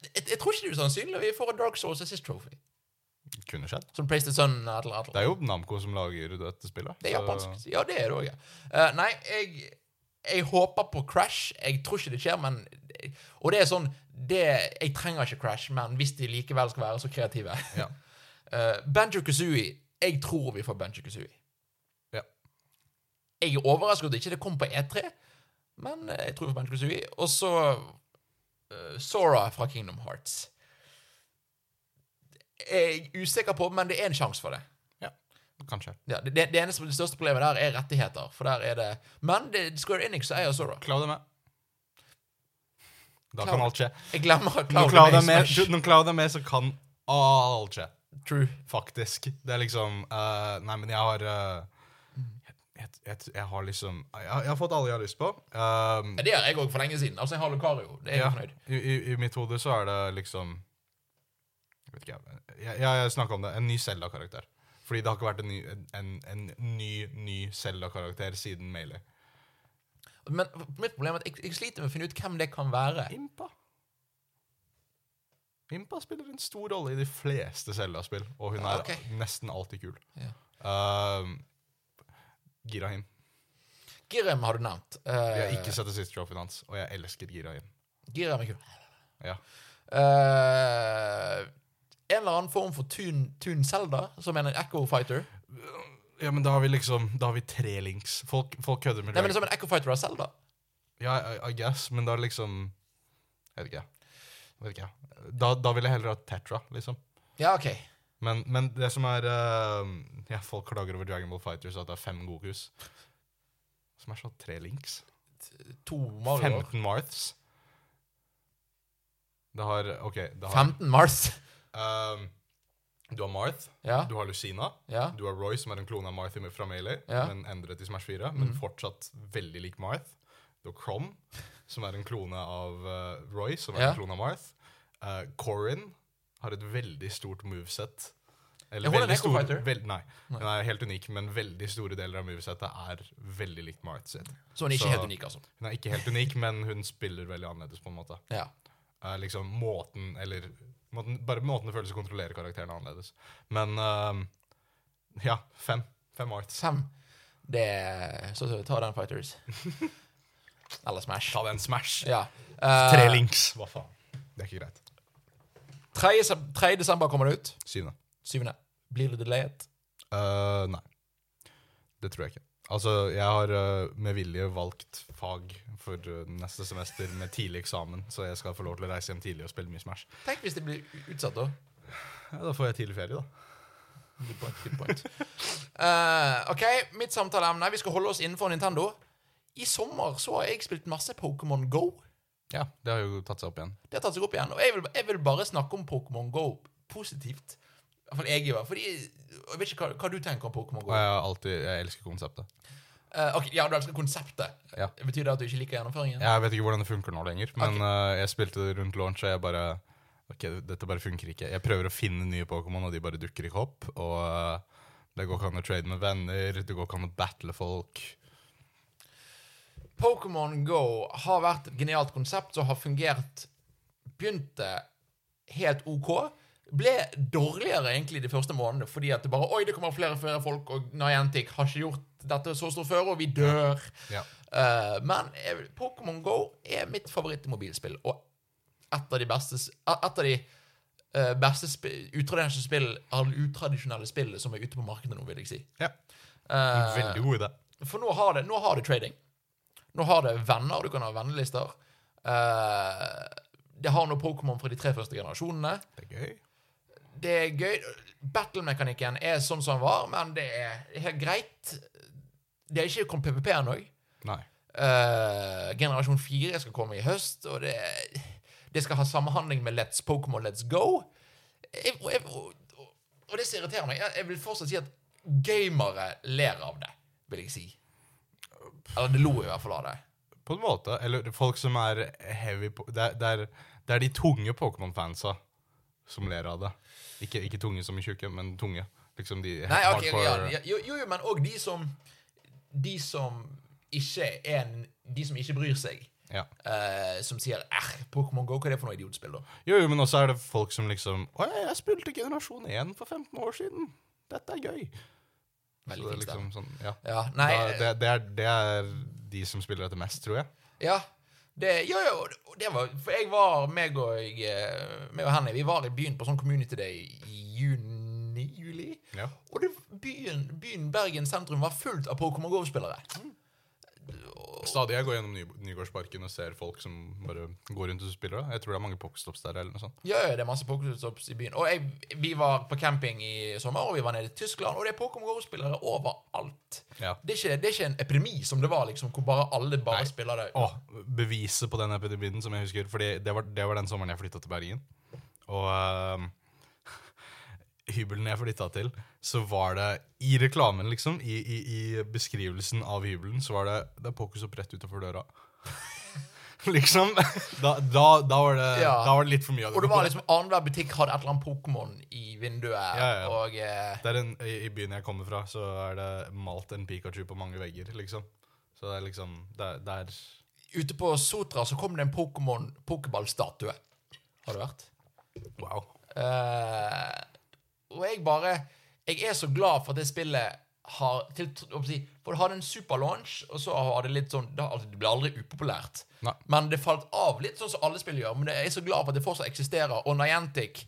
Speaker 1: Jeg, jeg tror ikke det er usannsynlig at vi får en Dark Souls Assist Trophy.
Speaker 2: Kunne skjedd.
Speaker 1: Som Praise the Sun eller et eller annet.
Speaker 2: Det er jo Namco som lager dette spillet.
Speaker 1: Det er
Speaker 2: så-
Speaker 1: japansk. Ja, det er det òg. Ja. Eh, nei, jeg, jeg håper på Crash. Jeg tror ikke det skjer, men Og det er sånn det, Jeg trenger ikke Crash, men hvis de likevel skal være så kreative (laughs) Eh,
Speaker 2: Ja.
Speaker 1: Banjo Kazooie Jeg tror vi får Banjo Kazooie.
Speaker 2: Ja.
Speaker 1: Jeg er overrasket over at ikke det kom på E3, men eh, jeg tror vi får Banjo Kazooie. Og så eh, Sora fra Kingdom Hearts. Jeg er usikker på, men det er en sjanse for det.
Speaker 2: ja. Kanskje.
Speaker 1: Ja, det, det eneste det største problemet der er rettigheter. For der er det Men det, Square Enix eier Sora.
Speaker 2: Cloud er med. Da
Speaker 1: Cloud.
Speaker 2: kan alt skje.
Speaker 1: Jeg glemmer at
Speaker 2: Når
Speaker 1: Cloud
Speaker 2: Cloud
Speaker 1: er
Speaker 2: er med,
Speaker 1: Smash.
Speaker 2: (laughs) du- når Cloud er med så kan alt skje.
Speaker 1: True.
Speaker 2: Faktisk. Det er liksom eh, Nei, men jeg har eh, jeg, jeg, jeg, jeg har liksom jeg, jeg har fått alle jeg har lyst på. Um,
Speaker 1: Ja, det har jeg òg for lenge siden. Altså, jeg har Lucario. Det er jeg
Speaker 2: ja,
Speaker 1: fornøyd.
Speaker 2: i, i, I mitt hode så er det liksom Jeg vet ikke, jeg, jeg, jeg snakka om det. En ny Zelda-karakter. Fordi det har ikke vært en ny, en, en, en ny, ny Zelda-karakter siden Melee.
Speaker 1: Men mitt problem er at jeg, jeg sliter med å finne ut hvem det kan være.
Speaker 2: Impa? Impa spiller en stor rolle i de fleste Zelda-spill, og hun er
Speaker 1: Ok.
Speaker 2: nesten alltid kul.
Speaker 1: Ja.
Speaker 2: Um, Girahin.
Speaker 1: Girem har du nevnt.
Speaker 2: Jeg har
Speaker 1: Uh,
Speaker 2: ikke sett det siste trofeen hans, og jeg elsker Girahin.
Speaker 1: Girem er kul.
Speaker 2: Ja.
Speaker 1: Eh, en eller annen form for Tune, tune Zelda, som er en Echo Fighter.
Speaker 2: ja, men da har vi liksom Da har vi tre links. Folk, folk kødder med
Speaker 1: Nei, men
Speaker 2: Dragon
Speaker 1: som en Echo Fighter av Zelda.
Speaker 2: Ja, I, I guess, men da liksom Jeg vet ikke. Jeg vet ikke. Da, da ville jeg heller hatt Tetra, liksom.
Speaker 1: Ja, OK.
Speaker 2: Men, men det som er eh, Ja, folk klager over Dragon Ball Fighters at det er fem Gokus. Som er sånn tre links.
Speaker 1: To Mario.
Speaker 2: 15 Marths. Det har OK, det har
Speaker 1: 15 Mars.
Speaker 2: eh, Du har Marth,
Speaker 1: Ja.
Speaker 2: du har Lucina,
Speaker 1: Ja.
Speaker 2: du har Roy, som er en klone av Marth i- fra Melee,
Speaker 1: Ja. Mhm.
Speaker 2: men endret i Smash 4, men fortsatt veldig lik Marth. Du har Crom, som er en klone av eh, Roy, som er
Speaker 1: Ja.
Speaker 2: en klone av Marth. Eh, Corin har et veldig stort moveset. Eller
Speaker 1: Ja, hun er
Speaker 2: veldig
Speaker 1: en
Speaker 2: store-
Speaker 1: Echo Fighter.
Speaker 2: vel- nei, hun er helt unik, men veldig store deler av movesettet er veldig likt Marth sitt.
Speaker 1: Så hun er ikke
Speaker 2: Så-
Speaker 1: helt unik, altså.
Speaker 2: Hun er ikke helt unik, men hun spiller veldig annerledes, på en måte.
Speaker 1: Ja.
Speaker 2: Eh, liksom måten Eller måten, bare måten det føles å kontrollere karakteren annerledes. Men ehm, ja, fem. Fem arts.
Speaker 1: Sam. Det er Så så ta den (laughs) Fighters. Eller Smash.
Speaker 2: Ta den Smash.
Speaker 1: Ja.
Speaker 2: Tre
Speaker 1: Eh,
Speaker 2: links. Hva faen? Det er ikke greit.
Speaker 1: 3. sep- 3. desember kommer det ut.
Speaker 2: Syvende.
Speaker 1: 7. Blir det delayet?
Speaker 2: Eh, nei. Det tror jeg ikke. Altså, jeg har eh, med vilje valgt fag for eh, neste semester med tidlig eksamen, så jeg skal få lov til å reise hjem tidlig og spille mye Smash.
Speaker 1: Tenk hvis det blir utsatt, da.
Speaker 2: Ja, da får jeg tidlig ferie, da.
Speaker 1: Good point, good point. Eh, ok, mitt samtaleemne. Vi skal holde oss innenfor Nintendo. I sommer så har jeg spilt masse Pokémon Go.
Speaker 2: Ja, det har jo tatt seg opp igjen.
Speaker 1: Det har tatt seg opp igjen. Og jeg vil, jeg vil bare snakke om Pokémon Go positivt. Iallfall jeg gjør. Fordi Jeg vet ikke hva, hva du tenker om Pokémon
Speaker 2: Og
Speaker 1: Go.
Speaker 2: jeg, har alltid, jeg elsker konseptet.
Speaker 1: Eh, ok, ja, du elsker konseptet.
Speaker 2: Ja.
Speaker 1: Betyr det at du ikke liker gjennomføringen?
Speaker 2: Jeg vet ikke hvordan det funker nå lenger, men eh, jeg spilte det rundt launch, og jeg bare Ok, dette bare funker ikke. Jeg prøver å finne nye Pokémon, og de bare dukker ikke opp. Og eh, det går ikke an å trade med venner, det går ikke an å battle folk.
Speaker 1: Pokémon Go har vært et genialt konsept som har fungert Begynte helt OK. Ble dårligere egentlig de første månedene fordi at det bare Oi, det kommer flere og flere folk, og Niantic har ikke gjort dette så stort før, og vi dør.
Speaker 2: Ja.
Speaker 1: Eh, men jeg- Pokémon Go er mitt favorittmobilspill, og et av de beste s- Et av de eh, beste spi- utradisjonelle spill, eller utradisjonelle spillene som er ute på markedet nå, vil jeg si.
Speaker 2: ja.
Speaker 1: Eh,
Speaker 2: Veldig god idé.
Speaker 1: for nå har, det, nå har det trading. Nå har det venner, du kan ha vennelister. Eh, det har nå Pokémon fra de tre første generasjonene.
Speaker 2: Det er gøy.
Speaker 1: Det er gøy. Battle-mekanikken er sånn som den var, men det er helt greit. Det er ikke kommet PPP ennå.
Speaker 2: Nei.
Speaker 1: Eh, generasjon 4 skal komme i høst, og det, det skal ha samhandling med Let's Pokémon Let's Go. Jeg, og, jeg, og, og- og det som irriterer meg, jeg, jeg vil fortsatt si at gamere ler av det, vil jeg si. Eller det lo i hvert fall av det.
Speaker 2: På en måte. Eller folk som er heavy på Det er, det er, det er de tunge Pokémon-fansa som ler av det. Ikke, ikke tunge som i tjukke, men tunge. Liksom
Speaker 1: Nei,
Speaker 2: de
Speaker 1: ok,
Speaker 2: hardcore-
Speaker 1: ja, ja, jo, jo, jo, men òg de som De som ikke er en, De som ikke bryr seg.
Speaker 2: Ja.
Speaker 1: eh, som sier eh, Pokémon Go, hva er det for noe idiotspill, da?
Speaker 2: Jo, jo, men også er det folk som liksom Å, ja, jeg spilte Generasjon 1 for 15 år siden. Dette er gøy. Så
Speaker 1: Veldig
Speaker 2: det er
Speaker 1: fint stemme.
Speaker 2: liksom sånn, ja.
Speaker 1: Ja, nei,
Speaker 2: da, det, det, er, det er de som spiller dette mest, tror jeg.
Speaker 1: Ja. Det, jo, jo, og det var For jeg var meg og, jeg, eh, meg og Henny vi var i byen på sånn Community Day i juni, juli.
Speaker 2: Ja.
Speaker 1: Og det, byen, byen Bergen sentrum var fullt av Pokémon GO-spillere.
Speaker 2: Stadig jeg går gjennom Ny Nygårdsparken og ser folk som bare går rundt og spiller. Da. Jeg tror det er mange pokestops der. eller noe sånt.
Speaker 1: Ja, ja, det er masse Pokémon Stops i byen. Og jeg, vi var på camping i sommer, og vi var nede i Tyskland, og det er Pokémon GO-spillere overalt.
Speaker 2: Ja.
Speaker 1: Det er, ikke, det er ikke en epidemi som det var, liksom, hvor bare alle bare spiller det.
Speaker 2: Åh, beviset på den epidemien som jeg husker, fordi det var, det var den sommeren jeg flytta til Bergen. Og ehm, (laughs) hybelen jeg flytta til, så var det i reklamen, liksom, i, i, i beskrivelsen av hybelen, så var det Det er Pokusop rett utenfor døra. (laughs) liksom. Da, da, da, var det,
Speaker 1: Ja.
Speaker 2: da var det litt for mye av det.
Speaker 1: Og det var liksom annenhver butikk hadde et eller annet Pokémon i vinduet,
Speaker 2: Ja, ja.
Speaker 1: og eh,
Speaker 2: Det er en, i, I byen jeg kommer fra, så er det malt en Pikachu på mange vegger, liksom. Så det er liksom Det er, det er
Speaker 1: Ute på Sotra så kom det en Pokémon Pokéball-statue. Har du vært?
Speaker 2: Wow.
Speaker 1: Eh, og jeg bare Jeg er så glad for at det spillet har til, å si, For det hadde en superlaunch, og så har det litt sånn det, har- altså, det ble aldri upopulært.
Speaker 2: Nei.
Speaker 1: Men det falt av litt, sånn som alle spill gjør. Men det- jeg er så glad for at det fortsatt eksisterer. Og Niantic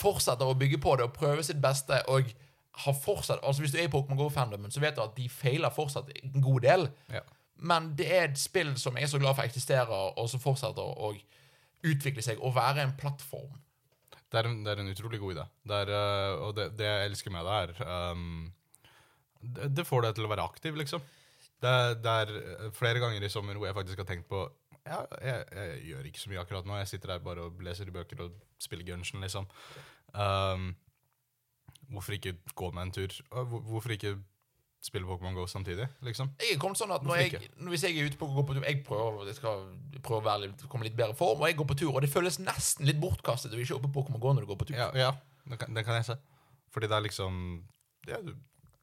Speaker 1: fortsetter å bygge på det og prøve sitt beste. og har fortsatt, altså Hvis du er i Pokémon GO-fandomen, så vet du at de feiler fortsatt en god del.
Speaker 2: Ja.
Speaker 1: Men det er et spill som jeg er så glad for eksisterer, og som fortsetter å utvikle seg og være en plattform.
Speaker 2: Det er, en, det er en utrolig god idé. Det er, øh, og det, det jeg elsker med det, er ehm, det, det får deg til å være aktiv, liksom. Det, er- det er øh, flere ganger i sommer hvor jeg faktisk har tenkt på ja, jeg, jeg gjør ikke så mye akkurat nå. Jeg sitter her bare og leser i bøker og spiller Gungeon, liksom. Ehm, hvorfor ikke gå med en tur? Og hvor- Hvorfor ikke spille Pokémon GO samtidig, liksom?
Speaker 1: Jeg er kommet sånn at når
Speaker 2: Hvorfor
Speaker 1: jeg, når- hvis jeg er ute på å gå på tur Jeg prøver, jeg skal prøve å være litt, komme i litt bedre form, og jeg går på tur, og det føles nesten litt bortkastet å ikke oppe på Pokémon GO når du går på tur.
Speaker 2: Ja, ja den, kan, den kan jeg se. Fordi det er liksom ja, du,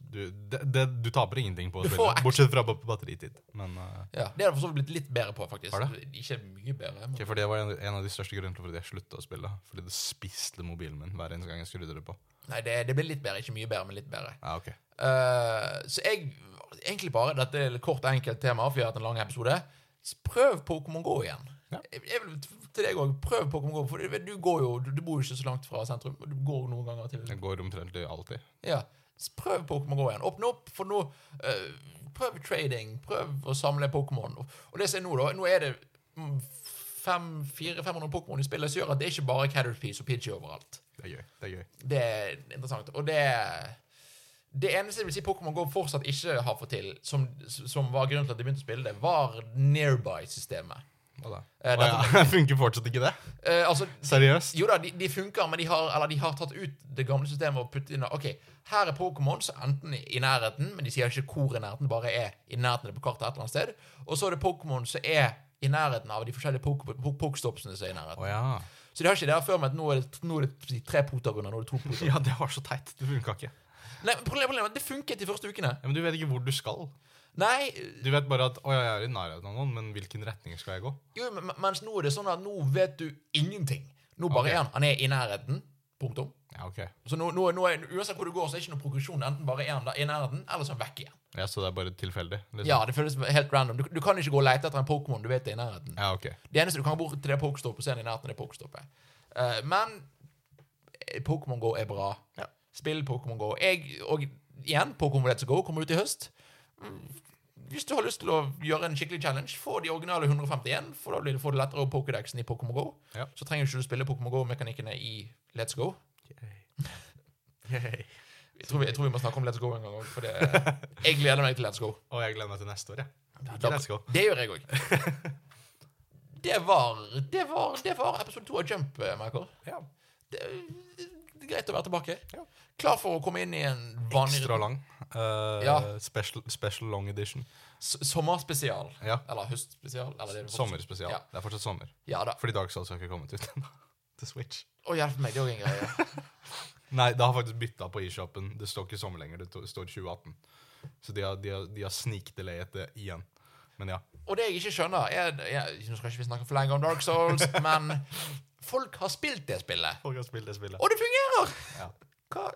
Speaker 2: du, det, det, du taper ingenting på å
Speaker 1: Du
Speaker 2: spille,
Speaker 1: får action.
Speaker 2: bortsett fra ba- batteritid. Men, eh,
Speaker 1: Ja, det har jeg for så vidt blitt litt bedre på, faktisk.
Speaker 2: Har
Speaker 1: Ikke mye bedre. Men...
Speaker 2: ok, for Det var en, en av de største grunnene til at jeg slutta å spille. Fordi det spiste mobilen min hver eneste gang jeg skrudde det på.
Speaker 1: Nei, det, det blir litt bedre. Ikke mye bedre, men litt bedre.
Speaker 2: Ja, ok.
Speaker 1: Eh, så jeg Egentlig bare Dette er et kort og enkelt tema, for vi har hatt en lang episode. S- Prøv Pokémon GO igjen.
Speaker 2: Ja.
Speaker 1: Jeg, jeg vil t- til deg òg. Prøv Pokémon GO. For du, du går jo Du, du bor jo ikke så langt fra sentrum. og Du går noen ganger til
Speaker 2: Jeg går omtrent alltid.
Speaker 1: Ja. s- Prøv Pokémon GO igjen. Åpne opp for noe. eh, prøv trading. Prøv å samle Pokémon. Og, og det som er nå, da Nå er det mm, fem, 400-500 Pokémon i spillet som gjør at det er ikke bare Caterpiece og Pidgey overalt.
Speaker 2: Det er gøy. det er gøy.
Speaker 1: Det er interessant. Og det Det eneste jeg vil si Pokémon GO fortsatt ikke har fått til, som, som var grunnen til at jeg begynte å spille det, var nearby-systemet.
Speaker 2: Hva da?
Speaker 1: Eh,
Speaker 2: Å,
Speaker 1: dette-
Speaker 2: (laughs) ja. Funker fortsatt ikke det?
Speaker 1: Eh, altså
Speaker 2: Seriøst?
Speaker 1: jo da, de, de funker, men de har, eller de har tatt ut det gamle systemet og puttet inn Ok, her er Pokémon, så enten i nærheten, men de sier ikke hvor i nærheten, bare er i nærheten på kartet et eller annet sted. Og så er det Pokémon som er i nærheten av de forskjellige poke- po- pokestopsene som er i
Speaker 2: Å
Speaker 1: nærheten.
Speaker 2: ja.
Speaker 1: Så de har ikke det her før med at nå er det, nå er det tre potagoner, nå er det to potagoner.
Speaker 2: Ja, det var så teit. Det funka ikke. Ja,
Speaker 1: Nei, men problemet, problemet er at det funket de første ukene.
Speaker 2: men du vet ikke hvor du skal.
Speaker 1: Nei,
Speaker 2: Du vet bare at å, ja, jeg er i nærheten av noen, men hvilken retning skal jeg gå?
Speaker 1: jo, men- mens nå er det sånn at nå vet du ingenting. Nå bare
Speaker 2: Ok.
Speaker 1: er han, han er i nærheten, punktum.
Speaker 2: Ja, ok.
Speaker 1: Så nå, nå, nå er, uansett hvor du går, så er det ikke noe progresjon. Enten bare er han da i nærheten, eller så er han vekk igjen.
Speaker 2: Ja, Så det er bare tilfeldig? Liksom.
Speaker 1: Ja, det føles helt random. Du, du kan ikke gå og lete etter en Pokémon du vet er i nærheten.
Speaker 2: ja, ok.
Speaker 1: Det eneste du kan gå bort til det Pokestoppet, så er det i nærheten av det Pokestoppet. Eh, men eh, Pokémon GO er bra.
Speaker 2: Ja.
Speaker 1: Spill Pokémon GO. Jeg, og igjen, Pokémon Let's Go kommer ut i høst. Mm, Hvis du har lyst til å gjøre en skikkelig challenge, få de originale 151, for da blir det, får du lettere over Pokédexen i Pokémon GO.
Speaker 2: Ja.
Speaker 1: Så trenger ikke du spille Pokémon GO-mekanikkene i Let's Go. Jeg tror, vi, jeg tror vi må snakke om Let's Go en gang òg, for det,
Speaker 2: (laughs)
Speaker 1: jeg gleder meg til Let's Go.
Speaker 2: Og jeg gleder meg til neste år, jeg.
Speaker 1: Da-
Speaker 2: Let's go.
Speaker 1: Det gjør jeg òg. Det var, det, var, det var episode to av Jump, eh, Michael.
Speaker 2: Ja.
Speaker 1: Det, det, det er greit å være tilbake.
Speaker 2: Ja.
Speaker 1: Klar for å komme inn i en vanlig
Speaker 2: Ekstra lang. Eh,
Speaker 1: Ja.
Speaker 2: special, special long edition.
Speaker 1: s- sommerspesial.
Speaker 2: Ja.
Speaker 1: Eller høstspesial. Eller det er fortsatt-
Speaker 2: Sommerspesial.
Speaker 1: Ja.
Speaker 2: Det er fortsatt sommer.
Speaker 1: Ja da.
Speaker 2: Fordi Dark Souls har ikke kommet ut ennå. (laughs) Til Switch.
Speaker 1: Å, hjelp meg, det er òg en greie.
Speaker 2: Nei, det har faktisk bytta på eShopen. Det står ikke sommer lenger, det to- står 2018. Så de har, de har, de har snikdelayet det igjen. Men ja.
Speaker 1: Og det jeg ikke skjønner er, er Nå skal ikke vi snakke for lenge om Dark Souls, men folk har spilt det spillet,
Speaker 2: Folk har spilt det spillet.
Speaker 1: og det fungerer!
Speaker 2: Ja.
Speaker 1: Hva,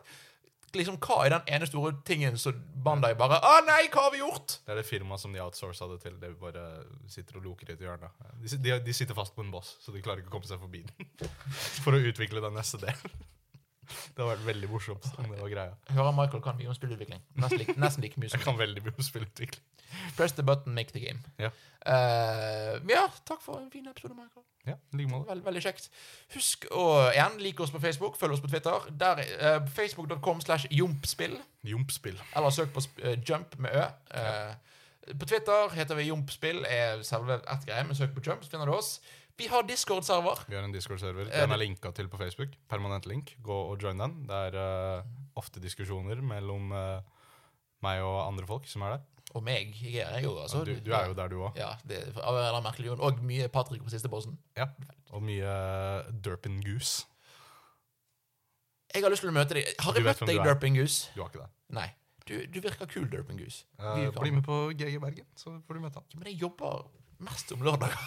Speaker 1: liksom, hva er den ene store tingen som Bandai bare Å nei, hva har vi gjort?
Speaker 2: Det er det firmaet som de outsourca det til. De bare sitter og loker litt i hjørnet. De, si- de, de sitter fast på en boss, så de klarer ikke å komme seg forbi den. (laughs) For å utvikle den neste delen. Det hadde vært veldig morsomt om det var greia.
Speaker 1: Jeg hører Michael kan mye om spillutvikling. Nesten like, nesten like mye som
Speaker 2: (laughs) Jeg kan veldig mye om spillutvikling.
Speaker 1: Press the button, make the game.
Speaker 2: Ja.
Speaker 1: Eh, ja, takk for en fin episode, Michael.
Speaker 2: Ja, i like måte.
Speaker 1: Vel- veldig kjekt. Husk å igjen like oss på Facebook, følg oss på Twitter. Der, eh, Facebook.com slash jompspill.
Speaker 2: Jompspill.
Speaker 1: Eller søk på sp- eh, jump med ø. Eh, På Twitter heter vi jompspill, er selve ett greie, men søk på jump, så finner du oss. Vi har Discord-server.
Speaker 2: Vi har en Discord-server.
Speaker 1: Eh,
Speaker 2: Den er linka til på Facebook. Permanent link. Gå og join den. Det er eh, ofte diskusjoner mellom eh, meg og andre folk som er der.
Speaker 1: Og meg. Jeg er jeg jo, altså.
Speaker 2: Du, du er jo der, du òg.
Speaker 1: Ja, det, av en eller annen merkelig grunn. Og mye Patrick på siste bossen.
Speaker 2: Ja. Og mye Derpin Goose.
Speaker 1: Jeg har lyst til å møte deg. Har
Speaker 2: Du
Speaker 1: jeg
Speaker 2: vet
Speaker 1: møtt
Speaker 2: hvem
Speaker 1: deg,
Speaker 2: du er.
Speaker 1: Derpingus?
Speaker 2: Du har ikke det.
Speaker 1: Nei. Du, du virker kul, Derpingus.
Speaker 2: Eh,
Speaker 1: Vi kan-
Speaker 2: bli med på GG Bergen, så får du møte han.
Speaker 1: Men jeg jobber mest om lørdager.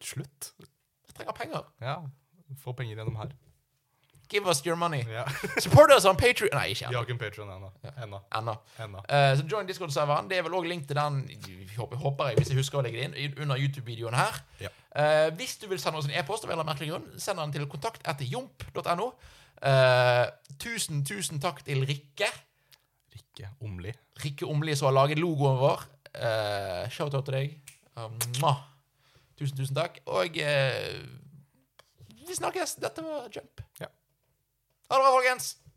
Speaker 2: Slutt.
Speaker 1: Jeg trenger penger.
Speaker 2: Ja. Få penger gjennom (laughs) her.
Speaker 1: Give us your
Speaker 2: (laughs)
Speaker 1: money.
Speaker 2: Ja.
Speaker 1: Support us on Patrion Nei, ikke
Speaker 2: Jeg
Speaker 1: ennå.
Speaker 2: har ikke en Patreon ennå. Ennå.
Speaker 1: Ennå.
Speaker 2: Ennå.
Speaker 1: Eh, så join Discord-serveren. Det er vel òg link til den jeg håper håper jeg, hvis jeg husker å legge det inn, i- under YouTube-videoen her.
Speaker 2: Ja.
Speaker 1: Eh, hvis du vil sende oss en e-post, av en eller annen merkelig grunn, send den til kontakt etter jomp.no. Eh, tusen, tusen takk til Rikke.
Speaker 2: Rikke Omli.
Speaker 1: Rikke Omli som har laget logoen vår. Eh, Shout-out til deg. Eh, mwah. Tusen, tusen takk. Og eh, vi snakkes. Dette var Jump.
Speaker 2: Ja.
Speaker 1: Ha det bra, folkens.